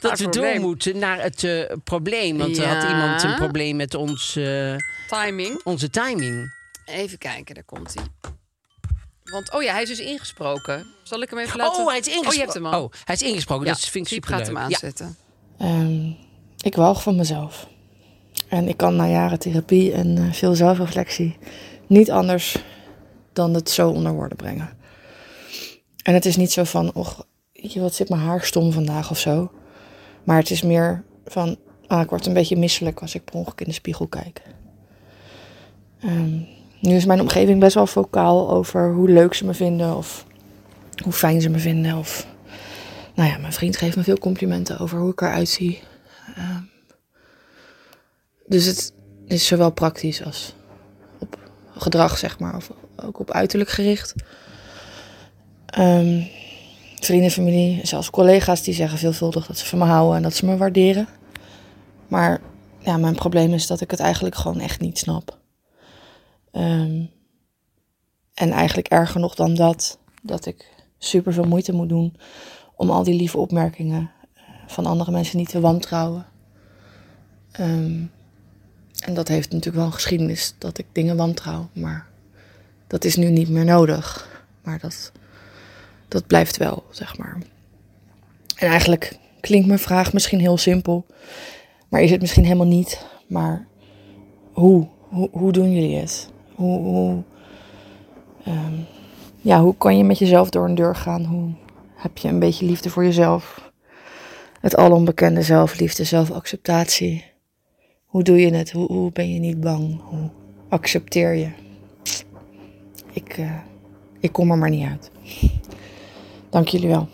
S2: dat we door
S4: probleem.
S2: moeten naar het eh, probleem. Want er had
S4: Ja.
S2: iemand een probleem met ons, eh,
S4: Timing.
S2: onze timing.
S4: Even kijken, daar komt hij. Want, oh ja, hij is dus ingesproken. Zal ik hem even laten...
S2: Oh, hij is ingesproken.
S4: Oh, je hebt hem al.
S2: Oh, hij is ingesproken.
S4: Ja,
S2: dat vind ik
S4: Siep
S2: superleuk.
S4: gaat hem
S2: Ja.
S4: aanzetten.
S5: Ehm, ik walg van mezelf. En ik kan na jaren therapie en eh, veel zelfreflectie niet anders dan het zo onder woorden brengen. En het is niet zo van, och, je, wat zit mijn haar stom vandaag of zo. Maar het is meer van, ah, ik word een beetje misselijk als ik per ongeluk in de spiegel kijk. Ehm, nu is mijn omgeving best wel vocaal over hoe leuk ze me vinden of hoe fijn ze me vinden of nou ja, mijn vriend geeft me veel complimenten over hoe ik eruit zie. Ehm, dus het is zowel praktisch als op gedrag, zeg maar, of ook op uiterlijk gericht. Ehm, vrienden, familie, zelfs collega's die zeggen veelvuldig dat ze van me houden en dat ze me waarderen. Maar ja, mijn probleem is dat ik het eigenlijk gewoon echt niet snap. Ehm, en eigenlijk erger nog dan dat, dat ik super veel moeite moet doen om al die lieve opmerkingen eh, van andere mensen niet te wantrouwen. Ehm, en dat heeft natuurlijk wel een geschiedenis dat ik dingen wantrouw, maar dat is nu niet meer nodig. Maar dat, dat blijft wel, zeg maar. En eigenlijk klinkt mijn vraag misschien heel simpel, maar is het misschien helemaal niet. Maar hoe? Hoe, hoe doen jullie het? Hoe, hoe, ehm, ja, hoe kan je met jezelf door een deur gaan? Hoe heb je een beetje liefde voor jezelf? Het alonbekende zelfliefde, zelfacceptatie. Hoe doe je het? Hoe, hoe ben je niet bang? Hoe accepteer je? Ik, eh, ik kom er maar niet uit. Dank jullie wel.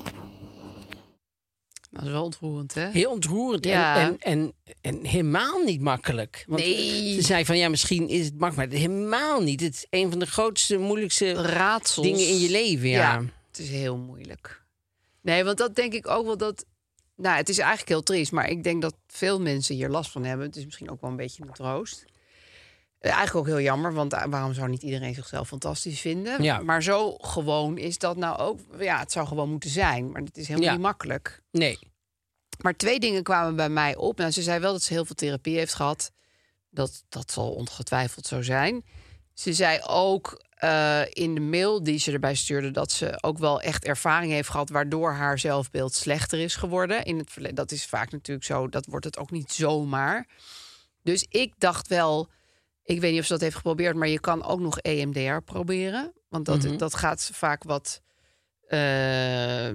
S4: Dat is wel ontroerend, hè?
S2: Heel ontroerend en-
S4: Ja.
S2: en, en, en helemaal niet makkelijk. Want
S4: Nee.
S2: Ze zei van ja, misschien is het makkelijk, maar helemaal niet. Het is een van de grootste, moeilijkste
S4: Raadsels.
S2: dingen in je leven. Ja.
S4: Ja, het is heel moeilijk. Nee, want dat denk ik ook wel dat. Nou, het is eigenlijk heel triest, maar ik denk dat veel mensen hier last van hebben. Het is misschien ook wel een beetje een troost. Eh, Eigenlijk ook heel jammer, want eh, waarom zou niet iedereen zichzelf fantastisch vinden?
S2: Ja.
S4: Maar zo gewoon is dat nou ook. Ja, het zou gewoon moeten zijn, maar het is helemaal
S2: Ja.
S4: niet makkelijk.
S2: Nee.
S4: Maar twee dingen kwamen bij mij op. Nou, ze zei wel dat ze heel veel therapie heeft gehad. Dat, dat zal ongetwijfeld zo zijn. Ze zei ook eh, in de mail die ze erbij stuurde... dat ze ook wel echt ervaring heeft gehad... waardoor haar zelfbeeld slechter is geworden. In het verleden. Dat is vaak natuurlijk zo. Dat wordt het ook niet zomaar. Dus ik dacht wel... Ik weet niet of ze dat heeft geprobeerd... maar je kan ook nog E EMDR proberen. Want dat,
S2: Mhm.
S4: dat gaat vaak wat... eh,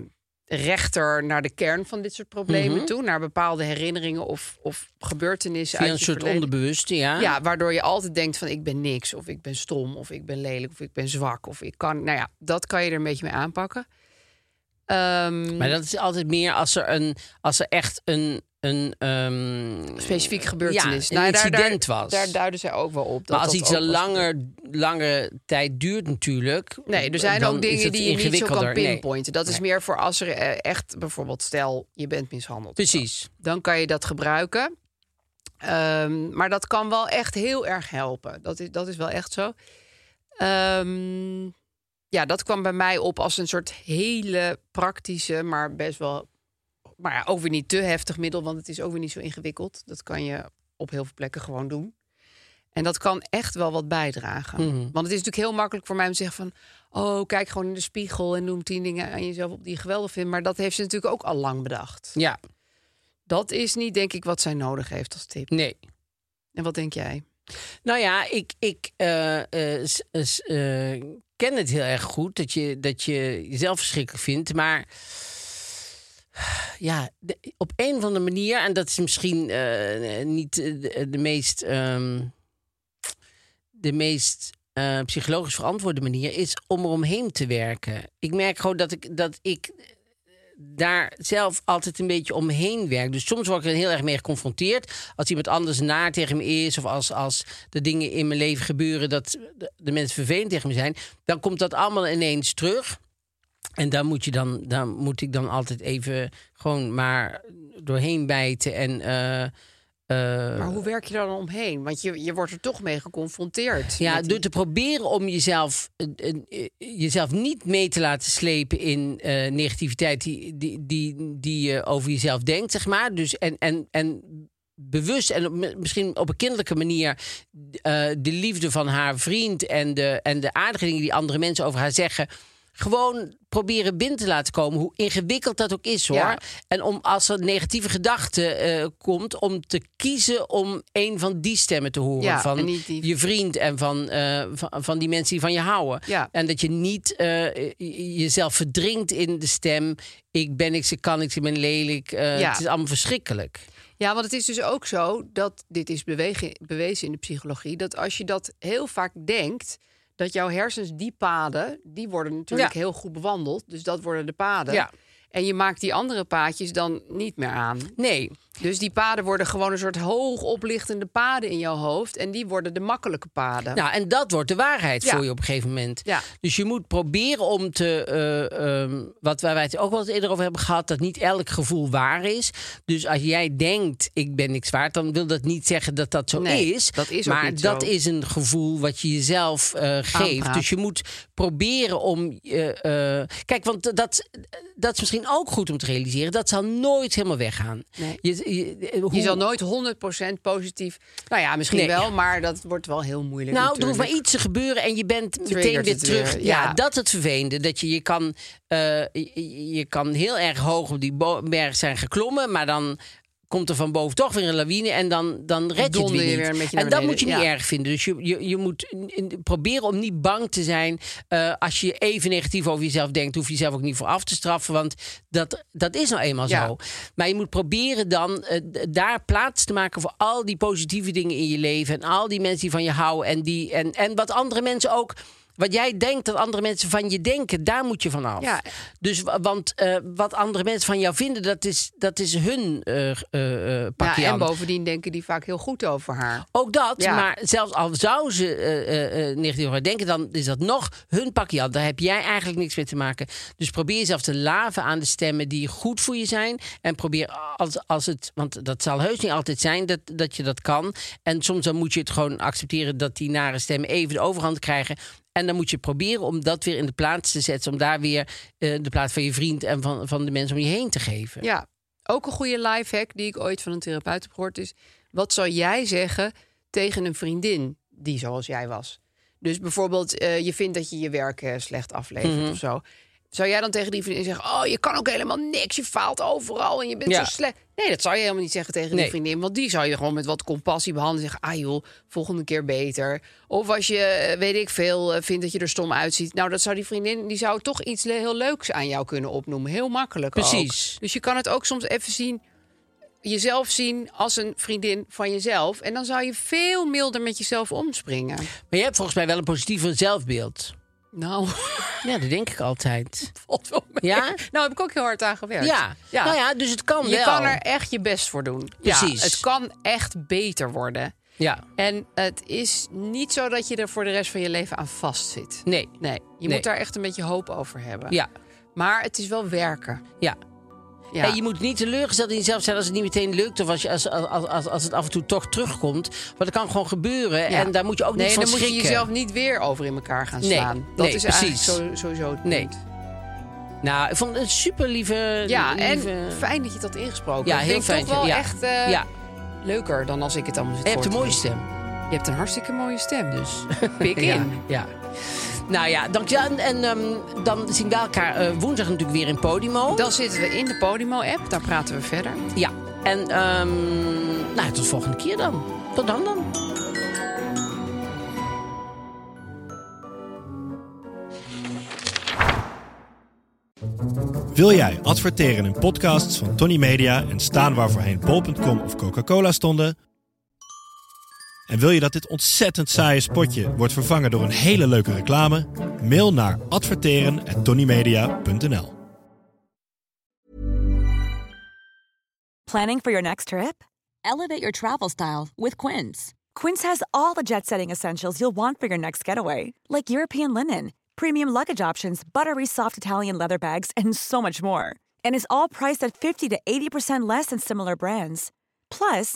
S4: rechter naar de kern van dit soort problemen toe. Naar bepaalde herinneringen of, of gebeurtenissen.
S2: Mhm. Via
S4: uit
S2: een
S4: je
S2: soort
S4: verleden.
S2: onderbewuste, ja.
S4: Ja, waardoor je altijd denkt van ik ben niks of ik ben stom of ik ben lelijk of ik ben zwak of ik kan. Nou ja, dat kan je er een beetje mee aanpakken. Ehm,
S2: Maar dat is altijd meer als er, een, als er echt een... een ehm,
S4: specifiek gebeurtenis. Nou,
S2: een incident was.
S4: Daar duiden zij ook wel op. Dat
S2: maar als
S4: dat
S2: iets
S4: ook
S2: een
S4: was gebeurd.
S2: langer, langere tijd duurt natuurlijk...
S4: Nee, er zijn
S2: dan
S4: ook
S2: is
S4: dingen
S2: het
S4: die je niet zo kan
S2: ingewikkelder. Nee,
S4: pinpointen. Dat is meer voor als er eh, echt bijvoorbeeld, stel je bent mishandeld.
S2: Precies.
S4: dan kan je dat gebruiken. Ehm, maar dat kan wel echt heel erg helpen. Dat is, dat is wel echt zo. Ehm, ja, dat kwam bij mij op als een soort hele praktische, maar best wel. Maar ja, ook weer niet te heftig middel, want het is ook weer niet zo ingewikkeld. Dat kan je op heel veel plekken gewoon doen. En dat kan echt wel wat bijdragen. Want het is natuurlijk heel makkelijk voor mij om te zeggen van... oh, kijk gewoon in de spiegel en noem tien dingen aan jezelf op die je geweldig vindt. Maar dat heeft ze natuurlijk ook al lang bedacht.
S2: Ja,
S4: Dat is niet, denk ik, wat zij nodig heeft als tip.
S2: nee.
S4: En wat denk jij?
S2: Nou ja, ik, ik eh, eh, s- s- eh, ken het heel erg goed dat je, dat je jezelf verschrikkelijk vindt. Maar ja, de- op een of andere manier, en dat is misschien eh, niet eh, de, de meest, ehm, de meest eh, psychologisch verantwoorde manier, is om eromheen te werken. Ik merk gewoon dat ik, dat ik eh, daar zelf altijd een beetje omheen werk. Dus soms word ik er heel erg mee geconfronteerd. Als iemand anders naar tegen me is... of als, als er dingen in mijn leven gebeuren... dat de- de mensen vervelend tegen me zijn... dan komt dat allemaal ineens terug. En daar moet, je dan, daar moet ik dan altijd even gewoon maar doorheen bijten. En, eh, eh,
S4: Maar hoe werk je daar dan omheen? Want je, je wordt er toch mee geconfronteerd.
S2: Ja,
S4: met die-
S2: door te proberen om jezelf, eh, eh, eh, jezelf niet mee te laten slepen in eh, negativiteit die, die, die, die je over jezelf denkt, zeg maar. Dus en, en, en bewust en op- misschien op een kinderlijke manier eh, de liefde van haar vriend en de, en de aardige dingen die andere mensen over haar zeggen. Gewoon proberen binnen te laten komen, hoe ingewikkeld dat ook is hoor.
S4: Ja.
S2: En om als er negatieve gedachte eh, komt, om te kiezen om een van die stemmen te horen.
S4: Ja,
S2: van
S4: en niet die-
S2: je vriend en van, eh, van, van die mensen die van je houden.
S4: Ja.
S2: En dat je niet eh, je- jezelf verdrinkt in de stem. Ik ben niks, ik kan niks, ik ben lelijk. eh,
S4: Ja.
S2: Het is allemaal verschrikkelijk.
S4: ja, want het is dus ook zo dat dit is bewegen, bewezen in de psychologie. Dat als je dat heel vaak denkt, dat jouw hersens die paden, die worden natuurlijk
S2: Ja.
S4: heel goed bewandeld. Dus dat worden de paden.
S2: Ja.
S4: En je maakt die andere paadjes dan niet meer aan.
S2: Nee.
S4: Dus die paden worden gewoon een soort hoog oplichtende paden in jouw hoofd. En die worden de makkelijke paden.
S2: Nou, en dat wordt de waarheid
S4: Ja.
S2: voor je op een gegeven moment.
S4: Ja.
S2: Dus je moet proberen om te. eh, ehm, wat wij het ook wel eens eerder over hebben gehad, dat niet elk gevoel waar is. Dus als jij denkt, ik ben niks waard, dan wil dat niet zeggen dat dat zo
S4: Nee,
S2: is.
S4: dat is ook
S2: maar
S4: niet
S2: dat
S4: zo.
S2: is een gevoel wat je jezelf eh, geeft.
S4: Aanpraat.
S2: Dus je moet proberen om. eh, eh, kijk, want dat, dat is misschien ook goed om te realiseren. Dat zal nooit helemaal weggaan.
S4: Nee.
S2: Je, je, eh,
S4: Je
S2: hoe-
S4: zal nooit 100% positief. Nou ja, misschien
S2: Nee.
S4: wel, maar dat wordt wel heel moeilijk.
S2: Nou, er hoeft maar
S4: natuurlijk.
S2: iets te gebeuren en je bent meteen
S4: Triggert
S2: weer
S4: het weer,
S2: terug. Ja.
S4: ja.
S2: dat is het vervelende. Dat je, je, kan, eh, je, je kan heel erg hoog op die bo- berg zijn geklommen, maar dan komt er van boven toch weer een lawine en dan, dan red je het
S4: Donder
S2: weer
S4: je
S2: niet.
S4: weer een beetje
S2: en
S4: naar
S2: dat
S4: beneden,
S2: moet je niet
S4: ja.
S2: erg vinden. Dus je, je, je moet n- n- proberen om niet bang te zijn. eh, als je even negatief over jezelf denkt, hoef je jezelf ook niet voor af te straffen. Want dat, dat is nou eenmaal
S4: Ja.
S2: zo. Maar je moet proberen dan eh, d- daar plaats te maken voor al die positieve dingen in je leven. En al die mensen die van je houden. En, die, en, en wat andere mensen ook. Wat jij denkt dat andere mensen van je denken, daar moet je van af.
S4: Ja.
S2: Dus, wa- want eh, wat andere mensen van jou vinden, dat is, dat is hun eh eh, eh, pakje
S4: ja, en
S2: aan.
S4: bovendien denken die vaak heel goed over haar.
S2: Ook dat,
S4: Ja.
S2: maar zelfs al zou ze eh, eh, eh, negatief over denken, dan is dat nog hun pakje aan. Daar heb jij eigenlijk niks mee te maken. Dus probeer jezelf te laven aan de stemmen die goed voor je zijn. En probeer als, als het, want dat zal heus niet altijd zijn dat, dat je dat kan. En soms dan moet je het gewoon accepteren dat die nare stemmen even de overhand krijgen. En dan moet je proberen om dat weer in de plaats te zetten. Om daar weer eh, de plaats van je vriend en van, van de mensen om je heen te geven.
S4: Ja, ook een goede lifehack die ik ooit van een therapeut heb gehoord is... wat zou jij zeggen tegen een vriendin die zoals jij was? Dus bijvoorbeeld, eh, je vindt dat je je werk eh, slecht aflevert
S2: Mhm.
S4: of zo. Zou jij dan tegen die vriendin zeggen... oh, je kan ook helemaal niks, je faalt overal en je bent
S2: Ja.
S4: zo slecht. Nee, dat zou je helemaal niet zeggen tegen
S2: Nee.
S4: die vriendin. Want die zou je gewoon met wat compassie behandelen. Zeggen, ah joh, volgende keer beter. Of als je, eh, weet ik veel, eh, vindt dat je er stom uitziet. Nou, dat zou die vriendin, die zou toch iets le- heel leuks aan jou kunnen opnoemen. Heel makkelijk ook.
S2: Precies.
S4: Dus je kan het ook soms even zien, jezelf zien als een vriendin van jezelf. En dan zou je veel milder met jezelf omspringen.
S2: Maar je hebt volgens mij wel een positiever zelfbeeld.
S4: Nou,
S2: Ja, dat denk ik altijd.
S4: valt wel mee.
S2: Ja?
S4: Nou, heb ik ook heel hard aan gewerkt.
S2: Ja. nou ja, dus het kan
S4: Je
S2: wel.
S4: kan er echt je best voor doen.
S2: Precies.
S4: Ja, het kan echt beter worden.
S2: Ja,
S4: En het is niet zo dat je er voor de rest van je leven aan vastzit.
S2: nee.
S4: Nee, je
S2: Nee.
S4: moet daar echt een beetje hoop over hebben.
S2: Ja,
S4: Maar het is wel werken.
S2: ja.
S4: Ja.
S2: En je moet niet teleurgesteld in jezelf zijn als het niet meteen lukt... of als, je, als, als, als, als het af en toe toch terugkomt. Want dat kan gewoon gebeuren
S4: Ja.
S2: en daar moet je ook
S4: nee,
S2: niet van
S4: dan
S2: schrikken.
S4: moet je jezelf niet weer over in elkaar gaan
S2: Nee,
S4: slaan. dat
S2: nee,
S4: is
S2: precies.
S4: eigenlijk zo- sowieso het
S2: Nee.
S4: punt.
S2: Nou, ik vond het een super lieve...
S4: Ja, en
S2: lieve-
S4: fijn dat je dat ingesproken
S2: Ja,
S4: hebt.
S2: heel
S4: Vind ik
S2: fijn.
S4: Toch wel
S2: ja.
S4: echt eh,
S2: ja,
S4: leuker dan als ik het allemaal zit
S2: je hebt een
S4: voor
S2: mooie
S4: te
S2: stem.
S4: lezen. Je hebt een hartstikke mooie stem, dus pik
S2: Ja,
S4: in.
S2: ja. Nou ja, dankjewel. En, en ehm, dan zien we elkaar eh, woensdag natuurlijk weer in Podimo.
S4: Dan zitten we in de Podimo-app, daar praten we verder.
S2: Ja. En ehm, nou, tot de volgende keer dan. Tot dan dan.
S6: Wil jij adverteren in podcasts van Tony Media en staan waar voorheen bol.com of Coca-Cola stonden? En wil je dat dit ontzettend saaie spotje wordt vervangen door een hele leuke reclame? Mail naar adverteren@tonymedia.nl.
S7: Planning for your next trip? Elevate your travel style with Quince. Quince has all the jet setting essentials you'll want for your next getaway, like European linen, premium luggage options, buttery soft Italian leather bags, and so much more. And is all priced at 50 to 80% less than similar brands. Plus,